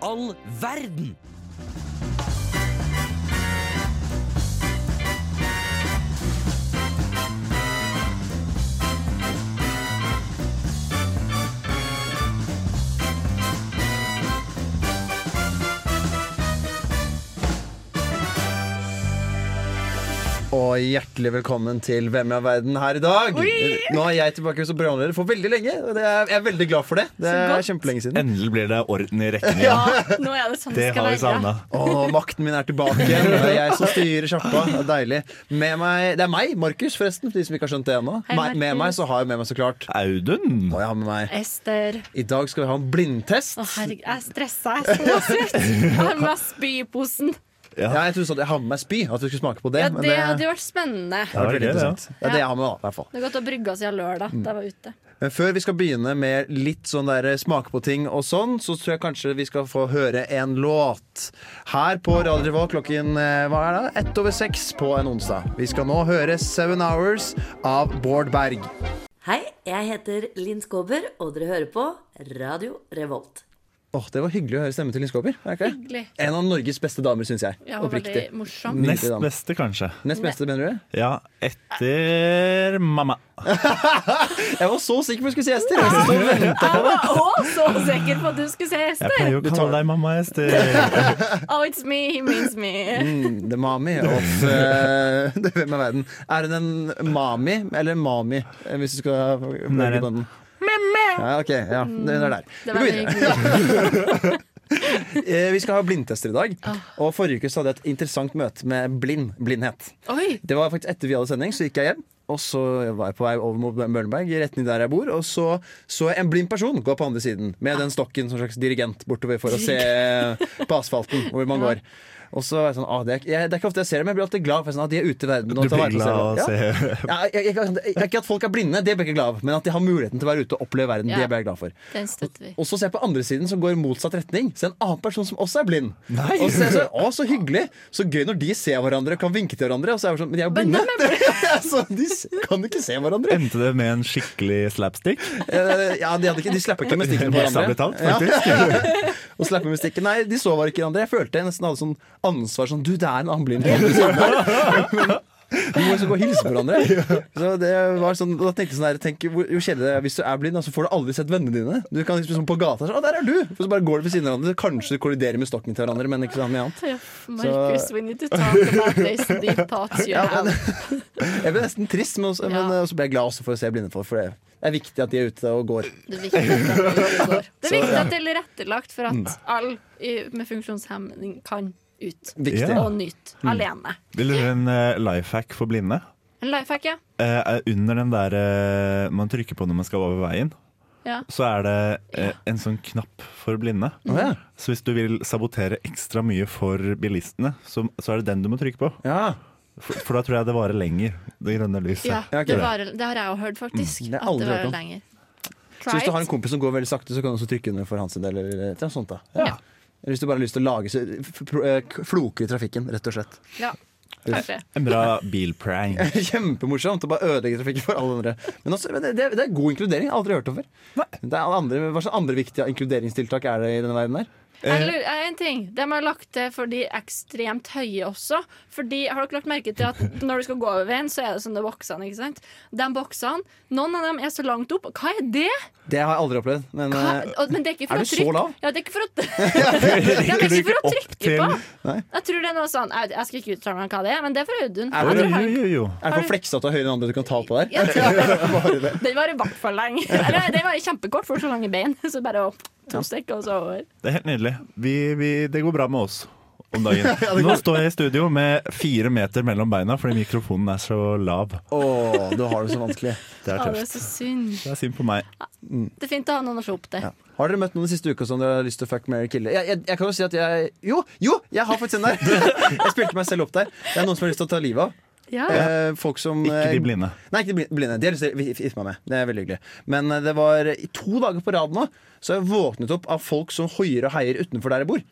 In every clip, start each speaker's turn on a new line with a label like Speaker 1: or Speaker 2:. Speaker 1: all verden?
Speaker 2: Og hjertelig velkommen til Hvem er verden her i dag.
Speaker 3: Oi!
Speaker 2: Nå er jeg tilbake som programleder for veldig lenge. og Det er, jeg er veldig glad for det. Det
Speaker 3: Så
Speaker 2: er
Speaker 3: godt.
Speaker 2: kjempelenge siden.
Speaker 4: Endelig blir det orden i rekken igjen.
Speaker 3: Ja, nå er det sånn det
Speaker 4: Det
Speaker 3: skal
Speaker 4: har vi
Speaker 3: være.
Speaker 4: savna.
Speaker 2: Å, makten min er tilbake igjen. Det er jeg som styrer sjappa. Det er Deilig. Med meg, det er meg, Markus, forresten, for de som ikke har skjønt det ennå.
Speaker 3: Hei,
Speaker 2: Meg- Med
Speaker 3: Markus.
Speaker 2: meg så har jeg med meg så klart.
Speaker 4: Audun.
Speaker 2: Og jeg har med meg.
Speaker 3: Ester.
Speaker 2: I dag skal vi ha en blindtest.
Speaker 3: Å, herregud, jeg er stressa. Jeg er så svett. Jeg har med spyposen.
Speaker 2: Ja, jeg trodde sånn at jeg har med meg spy, at du skulle smake på det.
Speaker 3: Ja,
Speaker 2: men
Speaker 3: det hadde jo vært spennende.
Speaker 2: det hadde
Speaker 4: Ja, Mm.
Speaker 2: vært veldig
Speaker 4: det er det,
Speaker 2: interessant. Det er det jeg har med, da, i hvert fall.
Speaker 3: Det er godt å brygge oss siden lørdag da jeg var ute.
Speaker 2: Men før vi skal begynne med litt sånn der smake på ting og sånn, så tror jeg kanskje vi skal få høre en låt. Her på Radio Revolt klokken eh, hva er det? ett over seks på en onsdag. Vi skal nå høre Seven Hours av Bård Berg.
Speaker 5: Hei, jeg heter Linn Skåber, og dere hører på Radio Revolt.
Speaker 2: Åh, Det var hyggelig å høre stemmen til Linn Skåber. er det ikke det?
Speaker 3: Hyggelig.
Speaker 2: En av Norges beste damer, syns jeg.
Speaker 3: Jeg var veldig
Speaker 2: Oppriktig.
Speaker 3: morsom.
Speaker 2: Nydelig
Speaker 4: Nest
Speaker 2: dame.
Speaker 4: beste, kanskje.
Speaker 2: Nest beste, mener du?
Speaker 4: Ja, etter mamma.
Speaker 2: Jeg var så sikker på at du skulle si Ester! Jeg stod og ventet.
Speaker 3: Jeg var òg så sikker på at du skulle se
Speaker 4: Jeg
Speaker 3: Ester.
Speaker 4: pleier jo å kalle deg mamma, Ester.
Speaker 3: Oh, it's me, he means me.
Speaker 2: Mm, The Mami of eh, det- Hvem er verden? Er hun en mami eller en mami, eh, hvis du skal velge
Speaker 4: en-
Speaker 2: på den? Ja, ok, ja, Hun er der. Vi går
Speaker 3: Mm, Det var
Speaker 2: videre.
Speaker 3: hyggelig.
Speaker 2: Eh, Vi skal ha blindtester i dag.
Speaker 3: Ah.
Speaker 2: Og Forrige uke så hadde jeg et interessant møte med blind, blindhet.
Speaker 3: Oi,
Speaker 2: Det var faktisk etter vi hadde sending, så gikk jeg hjem. Og så var jeg på vei over mot Møllenberg, i retning der jeg bor. Og så så jeg en blind person gå på andre siden med den stokken som slags dirigent bortover for å se på asfalten hvor man går. Og så var jeg sånn, ah, det, er, ikke- jeg, det er ikke ofte jeg ser dem, men jeg blir alltid glad for sånn, at de er ute i verden.
Speaker 4: Du
Speaker 2: Og tar
Speaker 4: blir
Speaker 2: vare på seg
Speaker 4: glad
Speaker 2: selv.
Speaker 4: å
Speaker 2: Ja.
Speaker 4: se
Speaker 2: Ja, jeg, jeg, jeg, jeg, ikke at folk er blinde, det blir jeg ikke glad av, men at de har muligheten til å være ute og oppleve verden.
Speaker 3: Ja.
Speaker 2: Det blir jeg glad for.
Speaker 3: den støtter vi.
Speaker 2: Og så ser jeg på andre siden som går i motsatt retning. Se en annen person som også er blind. Og så, er jeg sånn, å, så hyggelig! Så gøy når de ser hverandre og kan vinke til hverandre. Og så er jeg sånn, men de er jo
Speaker 3: Men
Speaker 2: blinde!
Speaker 3: hvem
Speaker 2: så de s- kan ikke se hverandre.
Speaker 4: Endte det med en skikkelig slapstick?
Speaker 2: Eh, Ja, de, hadde ikke, de slapper ikke med stikken på
Speaker 4: Sabeltann,
Speaker 2: hverandre.
Speaker 4: faktisk.
Speaker 2: Og slapper med stikken. Nei, de så bare ikke hverandre. Jeg følte jeg nesten hadde sånn ansvar sånn Du, det er en annen blind på andre siden der. Men Vi må liksom gå og hilse på hverandre. Så det var sånn, da tenkte jeg sånn der, tenk, hvor- Jo kjedelig det er hvis du er blind, da, så får du aldri sett vennene dine. Du kan liksom sånn på gata sånn, Å, der er du! Og så bare går du ved siden av hverandre. Kanskje du kolliderer med stokken til hverandre, men ikke så mye annet.
Speaker 3: Markus, we need to talk about this deep thoughts you have.
Speaker 2: Jeg ble nesten trist, men også, men,
Speaker 3: Ja.
Speaker 2: eh, så ble jeg glad også for å se blinde folk, for det er viktig at de er ute og går.
Speaker 3: Det er viktig at det går. Det er viktig at det er tilrettelagt for at
Speaker 4: Mm.
Speaker 3: alle i- med funksjonshemning kan ut
Speaker 2: Viktig.
Speaker 4: Ja.
Speaker 3: og nyte
Speaker 2: Mm.
Speaker 3: alene.
Speaker 4: Vil du høre en uh, life hack for blinde?
Speaker 3: En life hack, ja.
Speaker 4: Eh, er under den der eh, man trykker på når man skal over veien,
Speaker 3: ja.
Speaker 4: så er det eh, en sånn knapp for blinde.
Speaker 2: Å, ja.
Speaker 4: Så hvis du vil sabotere ekstra mye for bilistene, så, så er det den du må trykke på.
Speaker 2: Ja.
Speaker 4: For, for da tror jeg det varer lenger, det grønne lyset.
Speaker 3: ja
Speaker 2: Ja, ok.
Speaker 3: det, varer, det har jeg jo hørt, faktisk.
Speaker 2: Mm. Det har jeg
Speaker 3: At
Speaker 2: aldri
Speaker 3: det
Speaker 2: hørt om.
Speaker 3: varer lenger.
Speaker 2: Så hvis
Speaker 3: Try
Speaker 2: du har en
Speaker 3: it.
Speaker 2: kompis som går veldig sakte, så kan du også trykke under for hans del. Eller, et eller annet sånt, da.
Speaker 3: Ja.
Speaker 2: Eller hvis du bare har lyst til å lage så, f- pro- eh, k- floker i trafikken, rett og slett.
Speaker 3: Ja, kanskje.
Speaker 4: En bra bilprank.
Speaker 2: Kjempemorsomt å bare ødelegge trafikken for alle andre. Men også, men det, det, det er god inkludering. Jeg har Aldri hørt om før. Det er alle andre, hva slags andre viktige inkluderingstiltak er det i denne verden her?
Speaker 3: Eller eh, en ting. De har lagt til for de ekstremt høye også. Fordi, har dere lagt merke til at når du skal gå over veien, så er det sånne boksene, ikke sant? De boksene, noen av dem er så langt opp. Hva er det?
Speaker 2: Det har jeg aldri opplevd. Men
Speaker 3: Hva?
Speaker 2: eh,
Speaker 3: Og- Men det er ikke
Speaker 2: Er
Speaker 3: for å
Speaker 2: du så
Speaker 3: trykke
Speaker 2: lav?
Speaker 3: Ja, det er ikke for å, det er ikke for å trykke på.
Speaker 2: Nei.
Speaker 3: Jeg tror det er noe sånn Jeg, jeg skal ikke uttale meg om hva det er, men det er for Audun.
Speaker 2: Er
Speaker 4: Jo,
Speaker 3: Jeg
Speaker 2: det-
Speaker 3: tror
Speaker 4: jo,
Speaker 3: han-
Speaker 4: jo, jo.
Speaker 2: er det for fleksa at du er høyere enn andre du kan ta på der?
Speaker 3: jeg tror det.
Speaker 2: Bare det.
Speaker 3: Den var i hvert fall lenge. Eller den var kjempekort, for så lange bein. Så bare opp to stykk, og så over.
Speaker 4: Det er helt nydelig. Vi, vi, det går bra med oss om dagen. Nå står jeg i studio med fire meter mellom beina fordi mikrofonen er så lav.
Speaker 2: Åh, du har det så vanskelig.
Speaker 4: Det er
Speaker 3: Å, det er
Speaker 4: tøft.
Speaker 3: så synd.
Speaker 4: Det er synd på meg.
Speaker 3: Det er fint å ha noen å se opp til.
Speaker 2: Ja. Har dere møtt noen den siste uka som dere har lyst til å fuck, marry, kille? Jeg, jeg, jeg kan jo si at jeg Jo, jo, jeg har faktisk en der! Jeg spilte meg selv opp der. Det er noen som har lyst til å ta livet av.
Speaker 3: Ja.
Speaker 2: Eh, folk som
Speaker 4: Ikke de
Speaker 2: eh,
Speaker 4: blinde.
Speaker 2: Nei, ikke de bli- blinde. De har lyst til å gif- gifte meg med. Det er veldig hyggelig. Men eh, det var i to dager på rad nå, så har jeg våknet opp av folk som hoier og heier utenfor der jeg bor.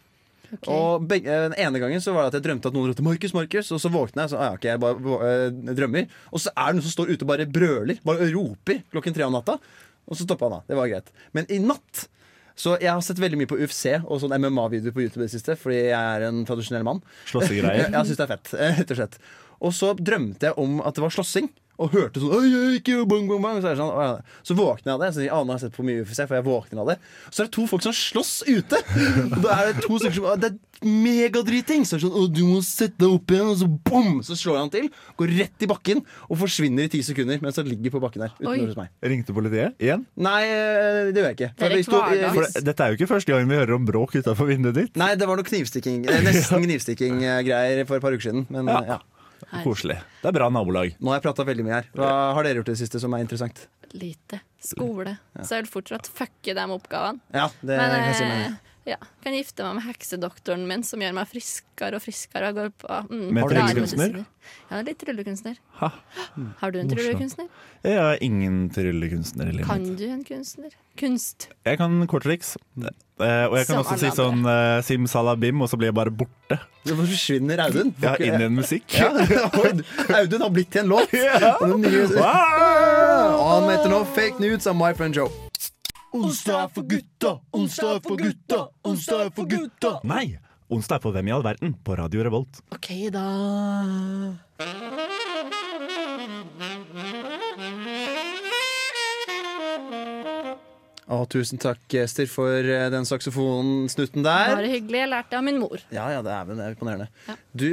Speaker 3: Ok.
Speaker 2: Og begge, eh, Den ene gangen så var det at jeg drømte at noen ropte 'Markus, Markus', og så våkna jeg, så, ah, ja, ok, jeg bare vå- eh, drømmer. og så er det noen som står ute og bare brøler, bare roper klokken tre om natta. Og så stoppa han, da. Det var greit. Men i natt Så jeg har sett veldig mye på UFC og sånn MMA-videoer på YouTube i det siste, fordi jeg er en tradisjonell mann.
Speaker 4: Slåssegreier.
Speaker 2: Jeg, jeg syns det er fett, eh, rett og slett. Og så drømte jeg om at det var slåssing. Og hørte sånn oi, oi, ikke, bang, bang, bang. Så, er det sånn, «Å, ja. så våkner jeg av det. Så sier, jeg, ah, nå har jeg sett på mye UFC, for jeg våkner av det. Så er det to folk som slåss ute! Og da er det to stykker som «Å, Det er megadriting! Så er det sånn, «Å, du må sette deg opp igjen, og så bom! Så slår han til. Går rett i bakken og forsvinner i ti sekunder mens han ligger på bakken der.
Speaker 3: Oi.
Speaker 2: Uten hos meg.
Speaker 4: Ringte politiet igjen?
Speaker 2: Nei, eh, det gjør jeg ikke.
Speaker 3: Det er
Speaker 2: vi
Speaker 3: litt
Speaker 2: sto-
Speaker 3: hverdag.
Speaker 2: vi-
Speaker 4: For det- dette er jo ikke første gangen vi hører om bråk utafor vinduet ditt.
Speaker 2: Nei, det var noe knivstikking. eh, Nesten knivstikking-greier for et par uker siden. Men eh, ja.
Speaker 4: Koselig. Det er bra nabolag.
Speaker 2: Nå har jeg prata veldig mye her. Hva har dere gjort i det siste som er interessant?
Speaker 3: Lite. Skole. Så jeg vil fortsatt fucke de oppgavene.
Speaker 2: Ja, det
Speaker 3: Men
Speaker 2: kan jeg si meg
Speaker 3: eh,
Speaker 2: enig i.
Speaker 3: ja, kan gifte meg med heksedoktoren min, som gjør meg friskere og friskere. Og går på, mm,
Speaker 4: Med
Speaker 3: har du egen
Speaker 4: tryllekunstner?
Speaker 3: medisiner. Ja, litt tryllekunstner.
Speaker 4: Ha.
Speaker 3: Har du en
Speaker 4: Morsomt.
Speaker 3: tryllekunstner?
Speaker 4: Jeg er ingen tryllekunstner i livet
Speaker 3: Kan
Speaker 4: mitt.
Speaker 3: du en kunstner? Kunst.
Speaker 4: Jeg kan korttriks.
Speaker 2: Mm.
Speaker 4: Eh, og jeg kan
Speaker 3: Som
Speaker 4: også si
Speaker 3: alle
Speaker 4: sånn eh, simsalabim, og så blir jeg bare borte.
Speaker 2: Så forsvinner Audun.
Speaker 4: Ja, inn i en musikk.
Speaker 2: Ja, oi, Audun har blitt til en låt. Og den nye- Og han heter nå Fake Nudes av My Friend Joe. Onsdag er for gutta, onsdag er for gutta, onsdag er for gutta.
Speaker 4: Nei! Onsdag er på Hvem i all verden? På Radio Revolt.
Speaker 2: OK, da. Å, tusen takk, Ester, for eh, den saksofonsnutten der.
Speaker 3: Bare hyggelig. Jeg lærte det av min mor.
Speaker 2: Ja, ja, det er, det er imponerende. Du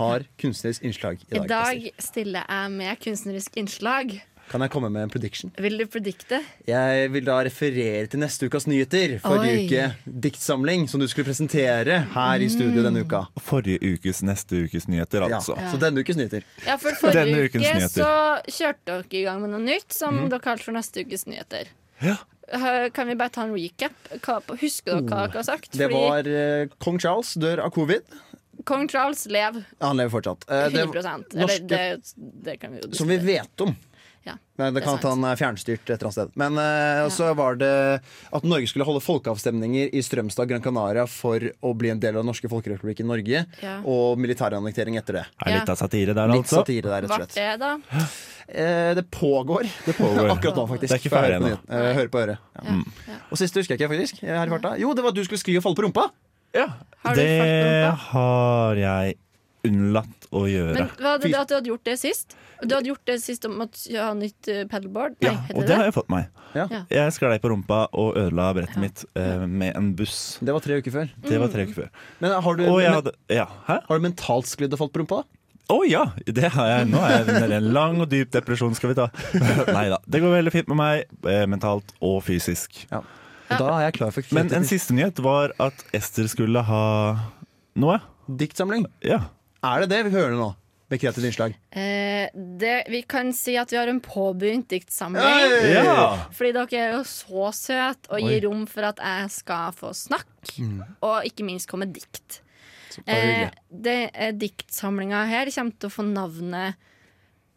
Speaker 2: har kunstnerisk innslag i
Speaker 3: I
Speaker 2: dag.
Speaker 3: dag
Speaker 2: Ester.
Speaker 3: stiller jeg med kunstnerisk innslag.
Speaker 2: Kan jeg komme med en prediction?
Speaker 3: Vil du predikte?
Speaker 2: Jeg vil da referere til neste ukas nyheter. Forrige
Speaker 3: Oi.
Speaker 2: uke diktsamling som du skulle presentere her i
Speaker 3: Mm.
Speaker 2: studio denne uka.
Speaker 4: Forrige ukes neste ukes nyheter,
Speaker 2: Ja,
Speaker 4: altså.
Speaker 2: så denne ukes nyheter.
Speaker 3: Ja, for
Speaker 4: Denne
Speaker 3: forrige
Speaker 4: ukens
Speaker 3: uke
Speaker 4: nyheter.
Speaker 3: så kjørte dere i gang med noe nytt som
Speaker 2: Mhm.
Speaker 3: dere kalte for neste ukes nyheter.
Speaker 4: Ja.
Speaker 3: Eh, Kan vi bare ta en recap? Hva, husker dere hva dere har sagt?
Speaker 2: Oh, Det var eh, kong Charles dør av covid.
Speaker 3: Fordi kong Charles lever
Speaker 2: Ja, Han lever fortsatt. Eh,
Speaker 3: 100
Speaker 2: det- norske-
Speaker 3: Eller det, det kan vi jo
Speaker 2: Som vi vet om.
Speaker 3: Ja,
Speaker 2: Men det
Speaker 3: det er
Speaker 2: kan at
Speaker 3: sant.
Speaker 2: han er fjernstyrt et eller annet sted. Men eh, så var det at Norge skulle holde folkeavstemninger i Strømstad Gran Canaria for å bli en del av den norske folkerepublikken Norge,
Speaker 3: Ja.
Speaker 2: og militærannektering etter det.
Speaker 4: Er litt av satire der,
Speaker 2: Litt
Speaker 4: altså.
Speaker 2: satire der, rett og
Speaker 3: Vart
Speaker 2: slett.
Speaker 3: det, da?
Speaker 2: Eh, det pågår.
Speaker 4: pågår.
Speaker 2: Akkurat nå, faktisk.
Speaker 4: Det er ikke
Speaker 2: Får
Speaker 4: ferdig
Speaker 2: jeg høre på
Speaker 4: ennå.
Speaker 2: nyheten- eh, Høre på øret. Ja.
Speaker 3: Ja, ja.
Speaker 2: Og siste husker jeg ikke, faktisk. Her i farta. Jo, det var at du skulle skli og falle på rumpa!
Speaker 3: Har du
Speaker 4: Det
Speaker 3: fart på
Speaker 4: har jeg unnlatt å gjøre.
Speaker 3: Men var det
Speaker 2: Fy-
Speaker 3: det at du hadde gjort det sist? Du hadde gjort det sist om at jeg har nytt eh, paddleboard? Nei,
Speaker 4: Ja, og
Speaker 3: heter
Speaker 4: det
Speaker 3: det
Speaker 4: har
Speaker 3: det?
Speaker 4: jeg fått meg.
Speaker 2: Ja.
Speaker 3: Ja.
Speaker 4: Jeg sklei på rumpa og ødela brettet mitt eh, med en buss.
Speaker 2: Det var tre uker før.
Speaker 4: Det var
Speaker 3: Mm.
Speaker 4: tre uker før.
Speaker 2: Men har du,
Speaker 4: Og jeg
Speaker 2: men,
Speaker 4: hadde Ja, hæ?
Speaker 2: har du mentalt sklidd og falt på rumpa? da?
Speaker 4: Å ja! Det har jeg. Nå er jeg nede i en lang og dyp depresjon, skal vi ta. Nei da. Det går veldig fint med meg, eh, mentalt og fysisk.
Speaker 2: Ja. Og Da er jeg klar for
Speaker 4: Men en
Speaker 2: kreativ
Speaker 4: siste nyhet var at Ester skulle ha noe.
Speaker 2: diktsamling.
Speaker 4: Ja.
Speaker 2: Er det det vi hører nå? Med kreativt innslag.
Speaker 3: Eh, det? Vi kan si at vi har en påbegynt diktsamling.
Speaker 2: Hey!
Speaker 4: Ja.
Speaker 3: Fordi dere er jo så søte og gir rom for at jeg skal få snakke, og ikke minst komme med dikt. Eh, det, eh, diktsamlinga her kommer til å få navnet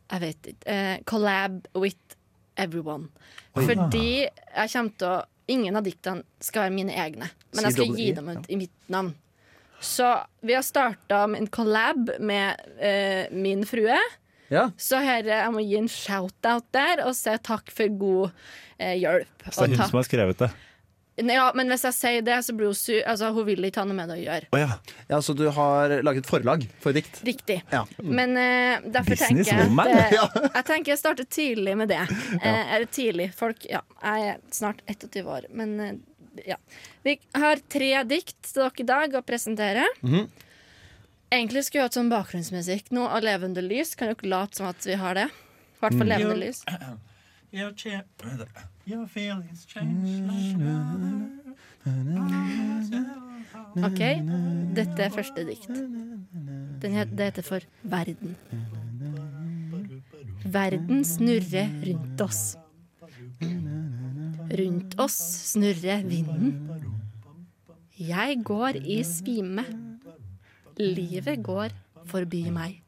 Speaker 3: Jeg vet ikke. Eh, collab with everyone. Fordi jeg kommer til å Ingen av diktene skal være mine egne,
Speaker 2: Si
Speaker 3: men jeg skal
Speaker 2: dobbelt
Speaker 3: gi
Speaker 2: i,
Speaker 3: dem
Speaker 2: ja.
Speaker 3: ut i mitt navn. Så vi har starta med en collab med eh, min frue.
Speaker 2: Ja.
Speaker 3: Så her, eh, jeg må gi en shout-out der og si takk for god eh, hjelp.
Speaker 4: Så det
Speaker 3: Og
Speaker 4: er hun
Speaker 3: takk.
Speaker 4: som har skrevet det.
Speaker 3: Nei, Ja, men hvis jeg sier det, så blir hun sur. Altså, hun vil ikke ha noe med det å gjøre.
Speaker 4: Å ja.
Speaker 2: ja, Så du har laget et forlag for dikt?
Speaker 3: Riktig.
Speaker 2: Ja.
Speaker 3: Men eh, derfor tenker jeg
Speaker 4: Businesswoman.
Speaker 3: at eh, Jeg tenker jeg starter tidlig med det. Eh, eller tidlig. Folk Ja, jeg er snart 21 år, men eh, ja. Vi har tre dikt til dere i dag å presentere.
Speaker 4: Mhm.
Speaker 3: Egentlig skulle vi hatt sånn bakgrunnsmusikk nå, og levende lys. Kan dere late som at vi har det? I hvert
Speaker 4: Mm.
Speaker 3: fall levende lys.
Speaker 1: Your cha- your feelings change like another.
Speaker 3: OK? Dette er første dikt. Den het, det heter for Verden. Verden snurrer rundt oss. Rundt oss snurrer vinden. Jeg går i svime. Livet går forbi meg.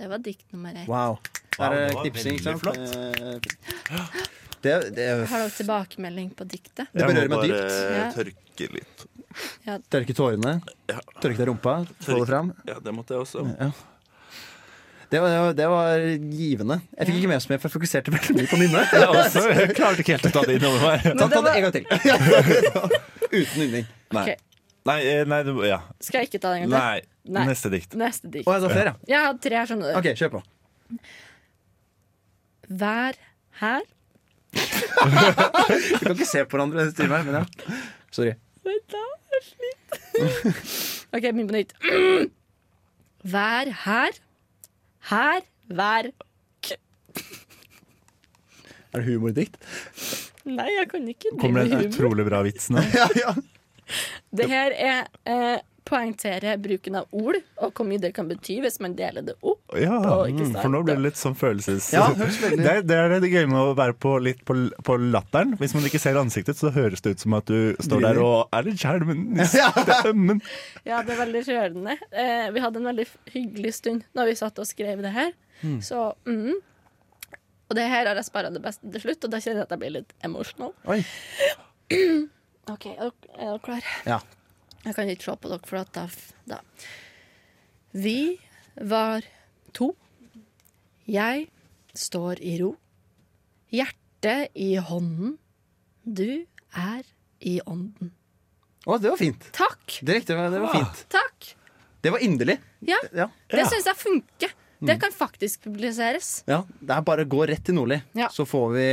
Speaker 3: Det var dikt nummer ett.
Speaker 2: Wow. Det
Speaker 4: Wow,
Speaker 2: er
Speaker 4: det var
Speaker 2: knipsing, ikke
Speaker 4: veldig
Speaker 2: sant?
Speaker 4: flott.
Speaker 2: Eh, Det, det,
Speaker 3: Har dere tilbakemelding på diktet?
Speaker 2: det berører meg dypt.
Speaker 3: Ja.
Speaker 4: tørke litt.
Speaker 2: Tørke tårene. Tørke deg rumpa. Få det fram.
Speaker 4: Ja, det måtte jeg også.
Speaker 2: Ja. Det var, det var, det var givende. Jeg fikk ikke med meg, for jeg fokuserte veldig mye på Nynne.
Speaker 4: Jeg, også, jeg klarte ikke helt å ta det innover meg.
Speaker 2: Ta, ta det en gang til. Uten nynning.
Speaker 4: Nei,
Speaker 3: Ok,
Speaker 4: nei, eh, nei du, ja.
Speaker 3: Skal jeg ikke ta den en gang
Speaker 4: Nei.
Speaker 3: Nei.
Speaker 4: Neste dikt.
Speaker 3: til? Neste dikt.
Speaker 2: Å, jeg sa flere, ja.
Speaker 3: Jeg hadde tre, skjønner du.
Speaker 2: Ok, kjør på.
Speaker 3: Vær her.
Speaker 2: Vi kan ikke se på hverandre i denne timen her, men ja. Sorry.
Speaker 3: Vent da, jeg sliter. OK, begynn på nytt. Vær her. Her. Vær
Speaker 2: Er det humordikt?
Speaker 3: Nei, jeg kan ikke
Speaker 4: Kommer det
Speaker 3: drive
Speaker 4: en
Speaker 3: humor.
Speaker 4: utrolig bra vits nå?
Speaker 2: Ja, ja.
Speaker 3: Det her er eh, poengtere bruken av ord, og hvor mye det kan bety hvis man deler det opp.
Speaker 4: Ja,
Speaker 3: Å, ikke
Speaker 4: mm,
Speaker 3: sant.
Speaker 4: for nå blir det litt sånn følelses...
Speaker 2: Ja, det høres veldig-
Speaker 4: det, er, det er det gøye med å være på, litt på, på latteren. Hvis man ikke ser ansiktet, så høres det ut som at du står der og er litt skjelmen i stemmen.
Speaker 3: Ja, det er veldig rørende. Eh, vi hadde en veldig f- hyggelig stund når vi satt og skrev det her. Så mm. Og det her har jeg spara det beste til slutt, og da kjenner jeg at jeg blir litt emotional.
Speaker 2: Oi.
Speaker 3: OK, er dere, er dere klare?
Speaker 2: Ja.
Speaker 3: Jeg kan ikke se på dere, for at da, da. Vi var to. Jeg står i ro. Hjertet i hånden. Du er i ånden.
Speaker 2: Å, det var fint.
Speaker 3: Takk!
Speaker 2: Det riktige, var- det var fint.
Speaker 3: Takk!
Speaker 2: Det var inderlig.
Speaker 3: Ja.
Speaker 2: Ah. Ja. Mm.
Speaker 3: Det syns jeg funker. Det kan faktisk publiseres.
Speaker 2: ja. Det er bare å gå rett til Nordli,
Speaker 3: Ja.
Speaker 2: så får vi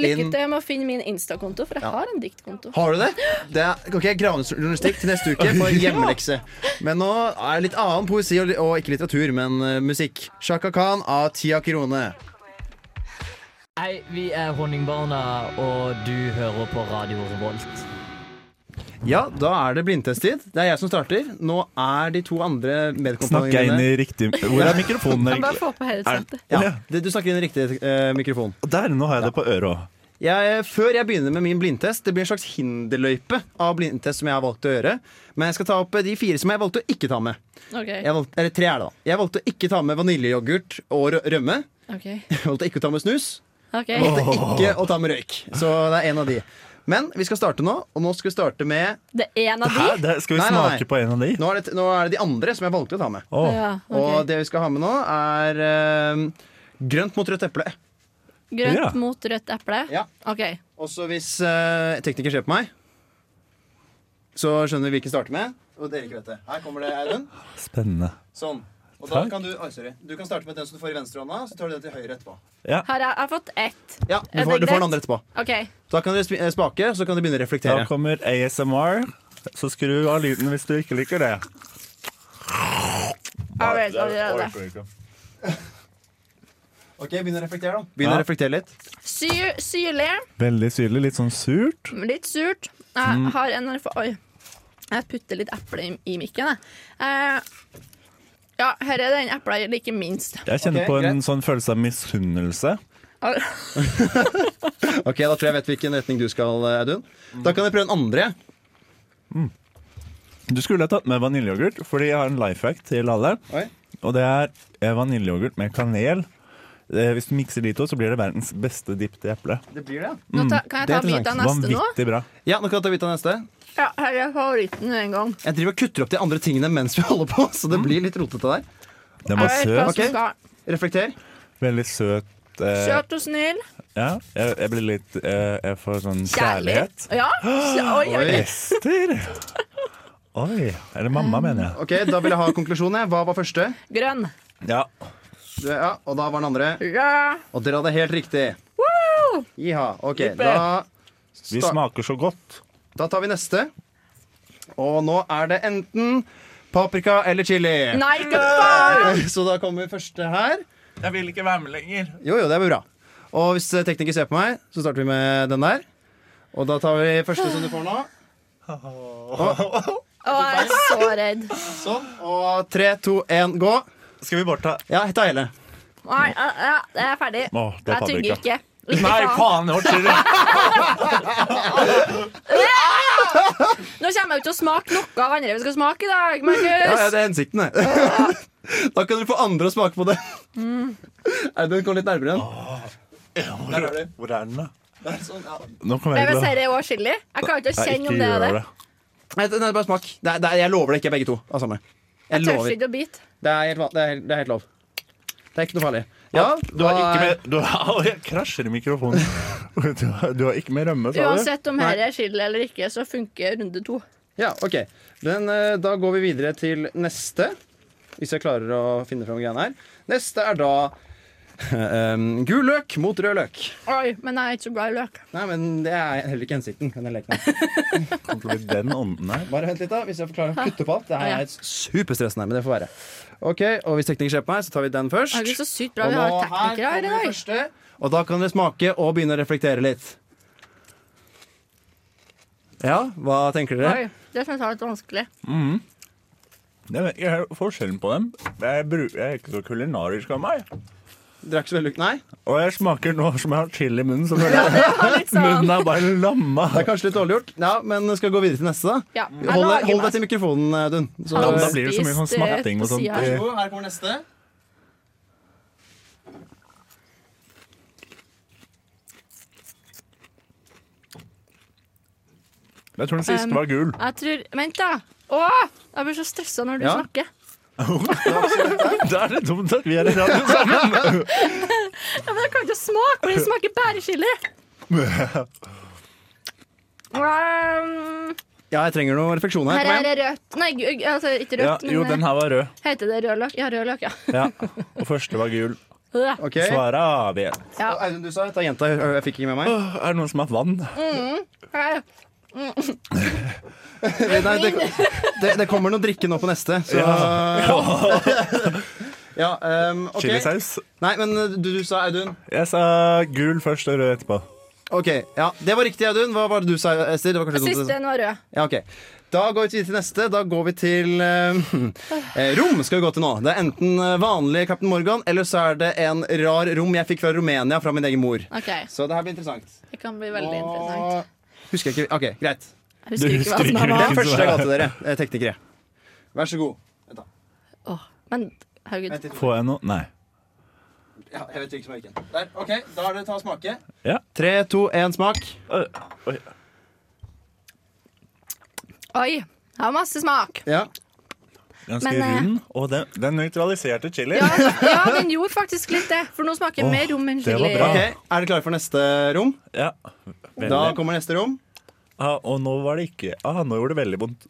Speaker 3: Lykke
Speaker 2: inn
Speaker 3: til med å finne min Insta-konto, for jeg har en diktkonto.
Speaker 2: Har du det? det er, ok, Gravejournalistikk til neste uke for hjemmelekse. Men nå er det litt annen poesi og, og ikke litteratur, men eh, musikk. Shaka Khan av Tia Kirone.
Speaker 6: Hei, vi er Honningbarna, og du hører på Radio Revolt.
Speaker 2: Ja, da er det blindtesttid. Det er jeg som starter. Nå er de to andre
Speaker 4: Snakk jeg inn
Speaker 2: medkomponentene
Speaker 4: i riktig Hvor er mikrofonen
Speaker 3: Kan bare
Speaker 4: egentlig?
Speaker 3: få på headsetet.
Speaker 2: ja, det- Du snakker inn i riktig eh, mikrofon.
Speaker 4: Der, nå har jeg det på øret òg.
Speaker 2: Jeg, eh, før jeg begynner med min blindtest, det blir en slags hinderløype av blindtest som jeg har valgt å gjøre. Men jeg skal ta opp eh, de fire som jeg valgte å ikke ta med.
Speaker 3: Ok,
Speaker 2: Jeg valgte, eller tre er det, da. Jeg valgte å ikke ta med vaniljeyoghurt og rø- rømme.
Speaker 3: ok,
Speaker 2: Jeg valgte ikke å ta med snus.
Speaker 3: ok.
Speaker 2: valgte ikke å ta med røyk. Så det er en av de. Men vi skal starte nå, og nå skal vi starte med
Speaker 3: Det er en av
Speaker 4: Hæ?
Speaker 3: de?
Speaker 4: Det, skal vi
Speaker 2: Nei, nei, nei.
Speaker 4: smake på en av de?
Speaker 2: Nå er det, nå er det de andre som jeg valgte å ta med.
Speaker 4: Å,
Speaker 3: Ja,
Speaker 2: Og
Speaker 3: ok.
Speaker 2: det vi skal ha med nå, er eh, grønt mot rødt eple.
Speaker 4: Ja.
Speaker 3: Grønt mot rødt eple?
Speaker 2: Ja.
Speaker 3: OK.
Speaker 2: Og så hvis eh, tekniker ser på meg, så skjønner vi hvilken starter med. Og dere ikke vet det. Her kommer det, Audun.
Speaker 4: Spennende.
Speaker 2: Sånn. Og da
Speaker 4: Takk.
Speaker 2: kan du, oi, sorry. du kan starte med den som du får i venstrehånda, så tar du den til høyre etterpå.
Speaker 3: Har jeg, jeg har fått ett.
Speaker 2: Ja, du
Speaker 3: Er
Speaker 2: får, du
Speaker 3: det
Speaker 2: får
Speaker 3: greit?
Speaker 2: den andre etterpå.
Speaker 3: OK.
Speaker 2: Så da kan dere sp- eh, spake, så kan dere begynne å
Speaker 4: Da
Speaker 2: reflektere.
Speaker 4: kommer ASMR. Så skru av lyden hvis du ikke liker det.
Speaker 3: All right, all right, all right.
Speaker 2: Ok, Begynn å reflektere, da. Begynn
Speaker 4: Ja.
Speaker 2: å reflektere litt.
Speaker 3: Syr, syrlig.
Speaker 4: Veldig syrlig, litt sånn surt.
Speaker 3: Litt surt. Jeg har en erfa- Oi. Jeg putter litt eple i, i mikken, jeg. Eh, ja, her er den epla jeg liker minst.
Speaker 4: Jeg kjenner
Speaker 2: Ok,
Speaker 4: på en
Speaker 2: greit.
Speaker 4: sånn følelse av misunnelse.
Speaker 3: Al-
Speaker 2: Ok, Da tror jeg jeg vet hvilken retning du skal, eh, Audun. Da kan jeg prøve den andre.
Speaker 4: Du skulle ha tatt med vaniljeyoghurt, fordi jeg har en life hack til alle.
Speaker 2: Oi.
Speaker 4: Og det er eh, vaniljeyoghurt med kanel. Eh, Hvis du mikser de to, så blir det verdens beste dipp til eple.
Speaker 2: Det blir det,
Speaker 3: Nå ta, kan jeg
Speaker 2: det er
Speaker 3: ta bit av neste nå?
Speaker 4: Vanvittig bra.
Speaker 2: ja. Nå kan jeg ta bit av neste.
Speaker 3: Ja, her er favoritten en gang.
Speaker 2: Jeg driver og kutter opp de andre tingene mens vi holder på, så det blir litt rotete der.
Speaker 4: Den var
Speaker 3: Jeg vet
Speaker 4: søt.
Speaker 3: hva som
Speaker 2: Ok.
Speaker 3: skal.
Speaker 2: Reflekter.
Speaker 4: Veldig søt. eh,
Speaker 3: Søt og snill.
Speaker 4: Ja, jeg, jeg blir litt eh, Jeg får sånn
Speaker 3: Kjærlig.
Speaker 4: kjærlighet.
Speaker 3: Ja. kjæ- Oi, oi, oi.
Speaker 2: Oi.
Speaker 4: Ester! Oi. Eller mamma, mener jeg.
Speaker 2: Ok, Da vil jeg ha konklusjonen. jeg. Hva var første?
Speaker 3: Grønn.
Speaker 2: Mm.
Speaker 4: Ja.
Speaker 2: Det- Ja, og da var den andre.
Speaker 3: Ja.
Speaker 2: Og dere hadde helt riktig.
Speaker 3: Woo!
Speaker 2: Jiha. Ok,
Speaker 3: Jippe.
Speaker 2: da,
Speaker 4: Vi
Speaker 2: Sta-
Speaker 4: smaker så godt.
Speaker 2: da tar vi neste. Og nå er det enten paprika eller chili.
Speaker 3: Nei, ikke faen!
Speaker 2: Så da kommer første her.
Speaker 4: Jeg vil ikke være med lenger.
Speaker 2: Jo, jo, det blir bra. Og hvis tekniker ser på meg, så starter vi med den der. Og da tar vi første som du får nå.
Speaker 3: Å, jeg er så redd.
Speaker 2: Sånn. Og tre, to, én, gå.
Speaker 4: Skal vi bare ta
Speaker 2: Ja, ta hele.
Speaker 3: Nei, ja, ja, jeg er ferdig.
Speaker 4: Å, det er
Speaker 3: jeg tygger
Speaker 4: paprika.
Speaker 3: ikke. Ikke faen. Nå kommer jeg jo ikke til å smake noe av andre vi skal smake i dag,
Speaker 2: Ja, ja,
Speaker 3: Markus.
Speaker 2: det er hensikten, det. da kan dere få andre å smake på det.
Speaker 3: Mm.
Speaker 2: Audun, kom litt nærmere igjen.
Speaker 4: Hvor er den? Hvor er den, da?
Speaker 2: Der, sånn, ja.
Speaker 4: Nå kommer
Speaker 3: Jeg
Speaker 4: jeg
Speaker 3: vil si
Speaker 4: til å
Speaker 3: det er også chili. Jeg klarer ikke å
Speaker 4: Nei,
Speaker 3: kjenne
Speaker 4: ikke
Speaker 3: om det er
Speaker 4: gjør
Speaker 3: det.
Speaker 4: det.
Speaker 2: Nei, det- nei, bare smak. Det er, det er, jeg lover det ikke, er begge to. Av samme. Jeg
Speaker 3: Tør
Speaker 2: lover.
Speaker 3: ikke å bite.
Speaker 2: Det er helt, va- det er, helt- det er helt lov. Det er ikke noe farlig. Ja,
Speaker 4: Du har
Speaker 2: hva
Speaker 4: ikke
Speaker 2: er-
Speaker 4: med du har, Au, Jeg krasjer i mikrofonen. Du har, du har ikke med rømme, sa du?
Speaker 3: Uansett om her er chili eller ikke, så funker runde to.
Speaker 2: Ja, ok. Den, eh, da går vi videre til neste. Hvis jeg klarer å finne fram greiene her. Neste er da em, gul løk mot rød løk.
Speaker 3: Oi, men jeg er ikke så glad i løk.
Speaker 2: Nei, men det er heller ikke hensikten. med den leken her.
Speaker 4: Kom til å bli den ånden her.
Speaker 2: Bare vent litt, da. Hvis jeg klarer å putte på alt. Det her er superstressende, men det får være. Ok, Og hvis teknikeren ser på meg, så tar vi den først.
Speaker 3: Herregud, så sykt bra
Speaker 2: Og
Speaker 3: vi
Speaker 2: nå
Speaker 3: har
Speaker 2: her
Speaker 3: teknikere her i
Speaker 2: kommer det
Speaker 3: dag.
Speaker 2: første. Og da kan dere smake og begynne å reflektere litt. Ja, hva tenker dere?
Speaker 3: Oi, det syns jeg var litt vanskelig.
Speaker 4: Jeg vet ikke helt forskjellen på dem. Jeg, bru- jeg er ikke så kulinarisk av meg.
Speaker 2: Dere er ikke så veldig Nei?
Speaker 4: Og jeg smaker nå som jeg har chili i munnen, så føler jeg
Speaker 3: Det var litt sånn
Speaker 4: munnen er bare lamma.
Speaker 2: Det er kanskje litt dårlig gjort, ja, men skal vi gå videre til neste, da?
Speaker 3: ja, jeg
Speaker 2: Hold,
Speaker 3: lager
Speaker 2: deg- hold
Speaker 3: meg.
Speaker 2: deg til mikrofonen, Audun. Så,
Speaker 4: Ja,
Speaker 3: Har
Speaker 4: men
Speaker 3: du
Speaker 4: da blir det så mye sånn
Speaker 3: spist, eh,
Speaker 4: smatting og
Speaker 3: på
Speaker 4: sånt.
Speaker 3: siden her?
Speaker 4: Eh,
Speaker 2: her kommer neste.
Speaker 4: Jeg tror den siste var gul.
Speaker 3: Jeg tror Vent, da. Åh, jeg blir så stressa når du
Speaker 2: Ja.
Speaker 3: snakker.
Speaker 4: Da er det dumt at vi er i radio sammen.
Speaker 3: Ja, men jeg kan ikke smake, for det smaker bare chili. Um,
Speaker 2: Ja, jeg trenger noen refleksjoner.
Speaker 3: her
Speaker 2: Kom
Speaker 3: er
Speaker 2: igjen.
Speaker 3: det rødt Nei, gu- altså ikke
Speaker 4: Ja,
Speaker 3: rødt, men
Speaker 4: jo, den her var rød.
Speaker 3: heter det rød løk? Ja, rød løk, ja.
Speaker 4: Ja. Og første var gul.
Speaker 3: Øh.
Speaker 2: Ok.
Speaker 4: Svaret er vi.
Speaker 3: Ja.
Speaker 2: Og Audun, du sa ta jenta. jeg- Jeg fikk ikke med meg.
Speaker 4: Åh, Er det noen som har vann?
Speaker 3: Her.
Speaker 2: Nei, det, det, det kommer noe drikke nå på neste, så Ja, ehm, ok.
Speaker 4: Chilisaus?
Speaker 2: Nei, men du, du sa Audun.
Speaker 4: Jeg sa gul først og rød etterpå.
Speaker 2: Ok, ja, Det var riktig, Audun. Hva var det du sa, Ester? Det var kanskje dumt å
Speaker 3: Siste
Speaker 2: si.
Speaker 3: den var rød.
Speaker 2: Ja, ok. Da går vi videre til neste. Da går vi til eh, rom. skal vi gå til nå. Det er enten eh, vanlig Captain Morgan, eller så er det en rar rom jeg fikk fra Romania fra min egen mor.
Speaker 3: OK.
Speaker 2: Så det her blir interessant.
Speaker 3: Det kan bli veldig interessant.
Speaker 2: Og- Husker jeg ikke Ok, greit.
Speaker 3: Jeg husker ikke hva som
Speaker 4: husker
Speaker 2: Det
Speaker 3: var
Speaker 2: er
Speaker 4: ikke.
Speaker 3: hva.
Speaker 2: første jeg ga til dere, eh, teknikere. Vær så god. Vent da.
Speaker 3: Åh, Men herregud.
Speaker 2: Vent litt.
Speaker 4: Får jeg noe? Nei.
Speaker 2: Ja, jeg vet ikke som er hvilken. Der, ok, Da er det ta og smake.
Speaker 4: Ja.
Speaker 2: Tre, to, én, smak.
Speaker 3: Oi. Det var masse smak.
Speaker 2: Ja.
Speaker 4: Ganske
Speaker 3: Men, eh,
Speaker 4: rund. Og den, den nøytraliserte chili.
Speaker 3: Ja, ja, den gjorde faktisk litt det. For nå smaker jeg mer rom enn
Speaker 4: det var
Speaker 3: chili.
Speaker 4: bra.
Speaker 2: Ok, Er dere klare for neste rom?
Speaker 4: Ja.
Speaker 2: Da
Speaker 4: Ah. Veldig.
Speaker 2: kommer neste rom.
Speaker 4: Ah, og nå var det ikke ah, Nå gjorde det veldig vondt.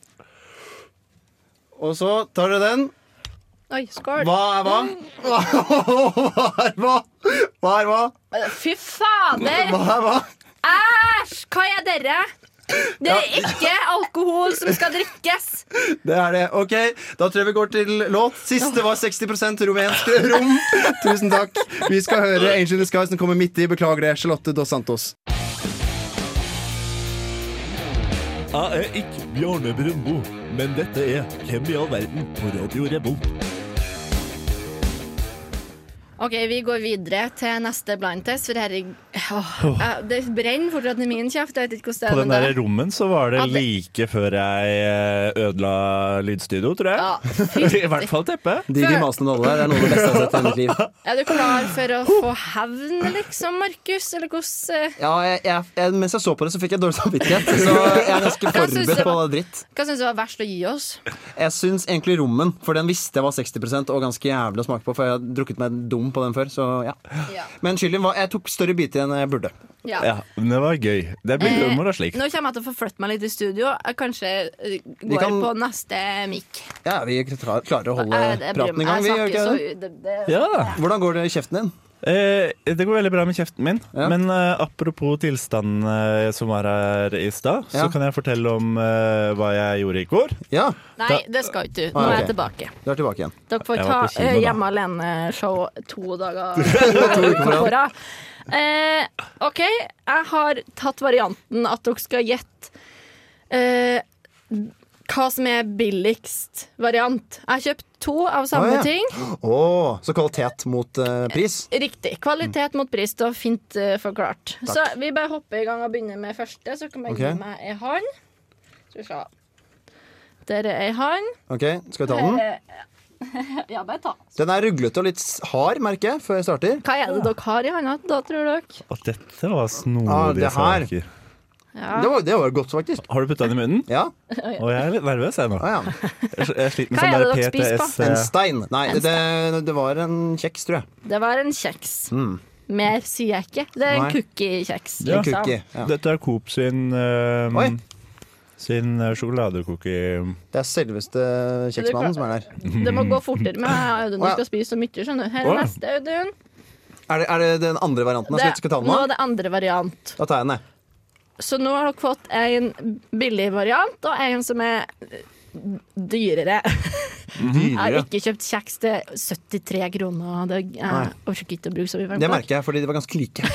Speaker 2: Og så tar dere den.
Speaker 3: Oi, skål.
Speaker 2: Hva er hva? Hva er hva? Hva er hva?
Speaker 3: Eh, Fy fader!
Speaker 2: Hva er hva?
Speaker 3: Æsj! Hva er dere? Det er ikke alkohol som skal drikkes.
Speaker 2: Det er det. Ok, Da tror jeg vi går til låt. Siste var 60 rumensk rom. Tusen takk. Vi skal høre Angel in the Sky som kommer midt i. Beklager det, Charlotte Dos Santos.
Speaker 4: Jeg er ikke Bjarne Brumbo, men dette er Hvem i all verden på Radio Revolt.
Speaker 3: Ok, Vi går videre til neste blind test. For her, åh, eh, det brenner fortsatt i min kjeft. Jeg vet ikke
Speaker 4: På den
Speaker 3: hvordan det
Speaker 4: der
Speaker 3: er. med deg.
Speaker 4: rommen så var det
Speaker 3: Ja, det-
Speaker 4: like før jeg eh, ødela lydstudio, tror jeg.
Speaker 3: Ja, fy.
Speaker 4: I hvert fall teppet.
Speaker 2: De de masene alle der, det er noe av det beste jeg har sett i hele mitt liv.
Speaker 3: Er du klar for å få hevn, liksom, Markus? Eller hvordan eh,
Speaker 2: Ja, jeg, jeg, jeg, mens jeg så på det, så fikk jeg dårlig samvittighet. Så jeg er ganske
Speaker 3: Hva syns
Speaker 2: forberedt
Speaker 3: du?
Speaker 2: på all dritt.
Speaker 3: Hva syns du var verst å gi oss?
Speaker 2: Jeg syns egentlig rommen, for den visste jeg var 60 og ganske jævlig å smake på, for jeg har drukket meg dum på den før. Så ja.
Speaker 3: Ja.
Speaker 2: Men chilien var Jeg tok større biter enn jeg burde.
Speaker 3: Ja.
Speaker 4: Ja, men det var gøy. Det blir
Speaker 3: Eh,
Speaker 4: humor og slikt.
Speaker 3: Nå kommer jeg til å forflytte meg litt i studio. Jeg kanskje eh, går
Speaker 2: kan-
Speaker 3: på neste mic.
Speaker 2: Ja, vi klar- klarer å holde
Speaker 3: Jeg, jeg, bryr
Speaker 2: praten i
Speaker 3: meg.
Speaker 2: gang, vi
Speaker 3: jeg
Speaker 2: gjør
Speaker 3: snakker
Speaker 2: ikke
Speaker 3: så
Speaker 2: det?
Speaker 3: det, det,
Speaker 4: Ja.
Speaker 2: Hvordan går det i kjeften din?
Speaker 4: Eh, det går veldig bra med kjeften min,
Speaker 2: Ja.
Speaker 4: men eh, apropos tilstanden eh, som var her i stad,
Speaker 2: Ja.
Speaker 4: så kan jeg fortelle om eh, hva jeg gjorde i går.
Speaker 2: Ja,
Speaker 3: Nei, det skal ikke du. Nå
Speaker 2: Ah,
Speaker 3: er
Speaker 2: ok.
Speaker 3: jeg tilbake.
Speaker 2: du er tilbake igjen.
Speaker 3: Dere får
Speaker 4: Jeg
Speaker 3: ta
Speaker 4: var på kino,
Speaker 3: eh,
Speaker 4: da.
Speaker 3: Hjemme alene-show to dager to uker på rad. Eh, OK, jeg har tatt varianten at dere skal gjette eh, hva som er billigst variant. Jeg har kjøpt to av
Speaker 2: Å,
Speaker 3: samme
Speaker 2: ja.
Speaker 3: ting.
Speaker 2: Å, så kvalitet mot eh, pris?
Speaker 3: Riktig. Kvalitet mot pris. Det var fint eh, forklart. Så vi bare hopper i gang og begynner med første. Så kan man
Speaker 2: Ok.
Speaker 3: gi meg ei hånd. Skal vi se. Der er ei hånd. Eh,
Speaker 2: Ok, Skal vi ta den?
Speaker 3: Ja, bare ta.
Speaker 2: Den er ruglete og litt s- hard, merker jeg, før jeg starter.
Speaker 3: Hva er det dere har i hånda da, tror dere?
Speaker 4: At dette var snodige
Speaker 2: Ah, det her.
Speaker 4: saker.
Speaker 3: Ja.
Speaker 2: Det var, det var godt, faktisk.
Speaker 4: Har du putta den i munnen?
Speaker 2: Ja.
Speaker 4: Og jeg er litt nervøs jeg nå.
Speaker 2: ja, ja.
Speaker 4: Jeg jeg sliter med
Speaker 3: Hva
Speaker 4: sånn
Speaker 3: er
Speaker 4: der
Speaker 3: det dere spiser
Speaker 4: PTS.
Speaker 3: på?
Speaker 2: En
Speaker 4: eh,
Speaker 2: stein. Nei, det, det var en kjeks, tror jeg.
Speaker 3: Det var en kjeks. Mer sier jeg ikke. Det er en
Speaker 2: Mm. Nei.
Speaker 3: cookie-kjeks.
Speaker 4: Ja.
Speaker 2: En cookie. Ja.
Speaker 4: Dette er Coop sin eh,
Speaker 2: Oi.
Speaker 4: Sin eh, sjokoladecookie.
Speaker 2: Det er selveste kjeksmannen som er der.
Speaker 3: Det må gå fortere med Audun. Du
Speaker 2: Å, ja.
Speaker 3: skal spise så mye, skjønner du. Her
Speaker 4: Å,
Speaker 3: er
Speaker 4: ja.
Speaker 3: neste, Audun.
Speaker 2: Er det, er det den andre varianten? da? Skal jeg- skal jeg ta den
Speaker 3: nå
Speaker 2: nå?
Speaker 3: er det andre variant.
Speaker 2: Da tar jeg den, jeg.
Speaker 3: Så nå har dere fått en billig variant og en som er dyrere. Jeg har ikke kjøpt kjeks til 73 kroner. Det eh, er- jeg orker ikke å bruke så mye varmt.
Speaker 2: Det merker jeg, fordi de var ganske like.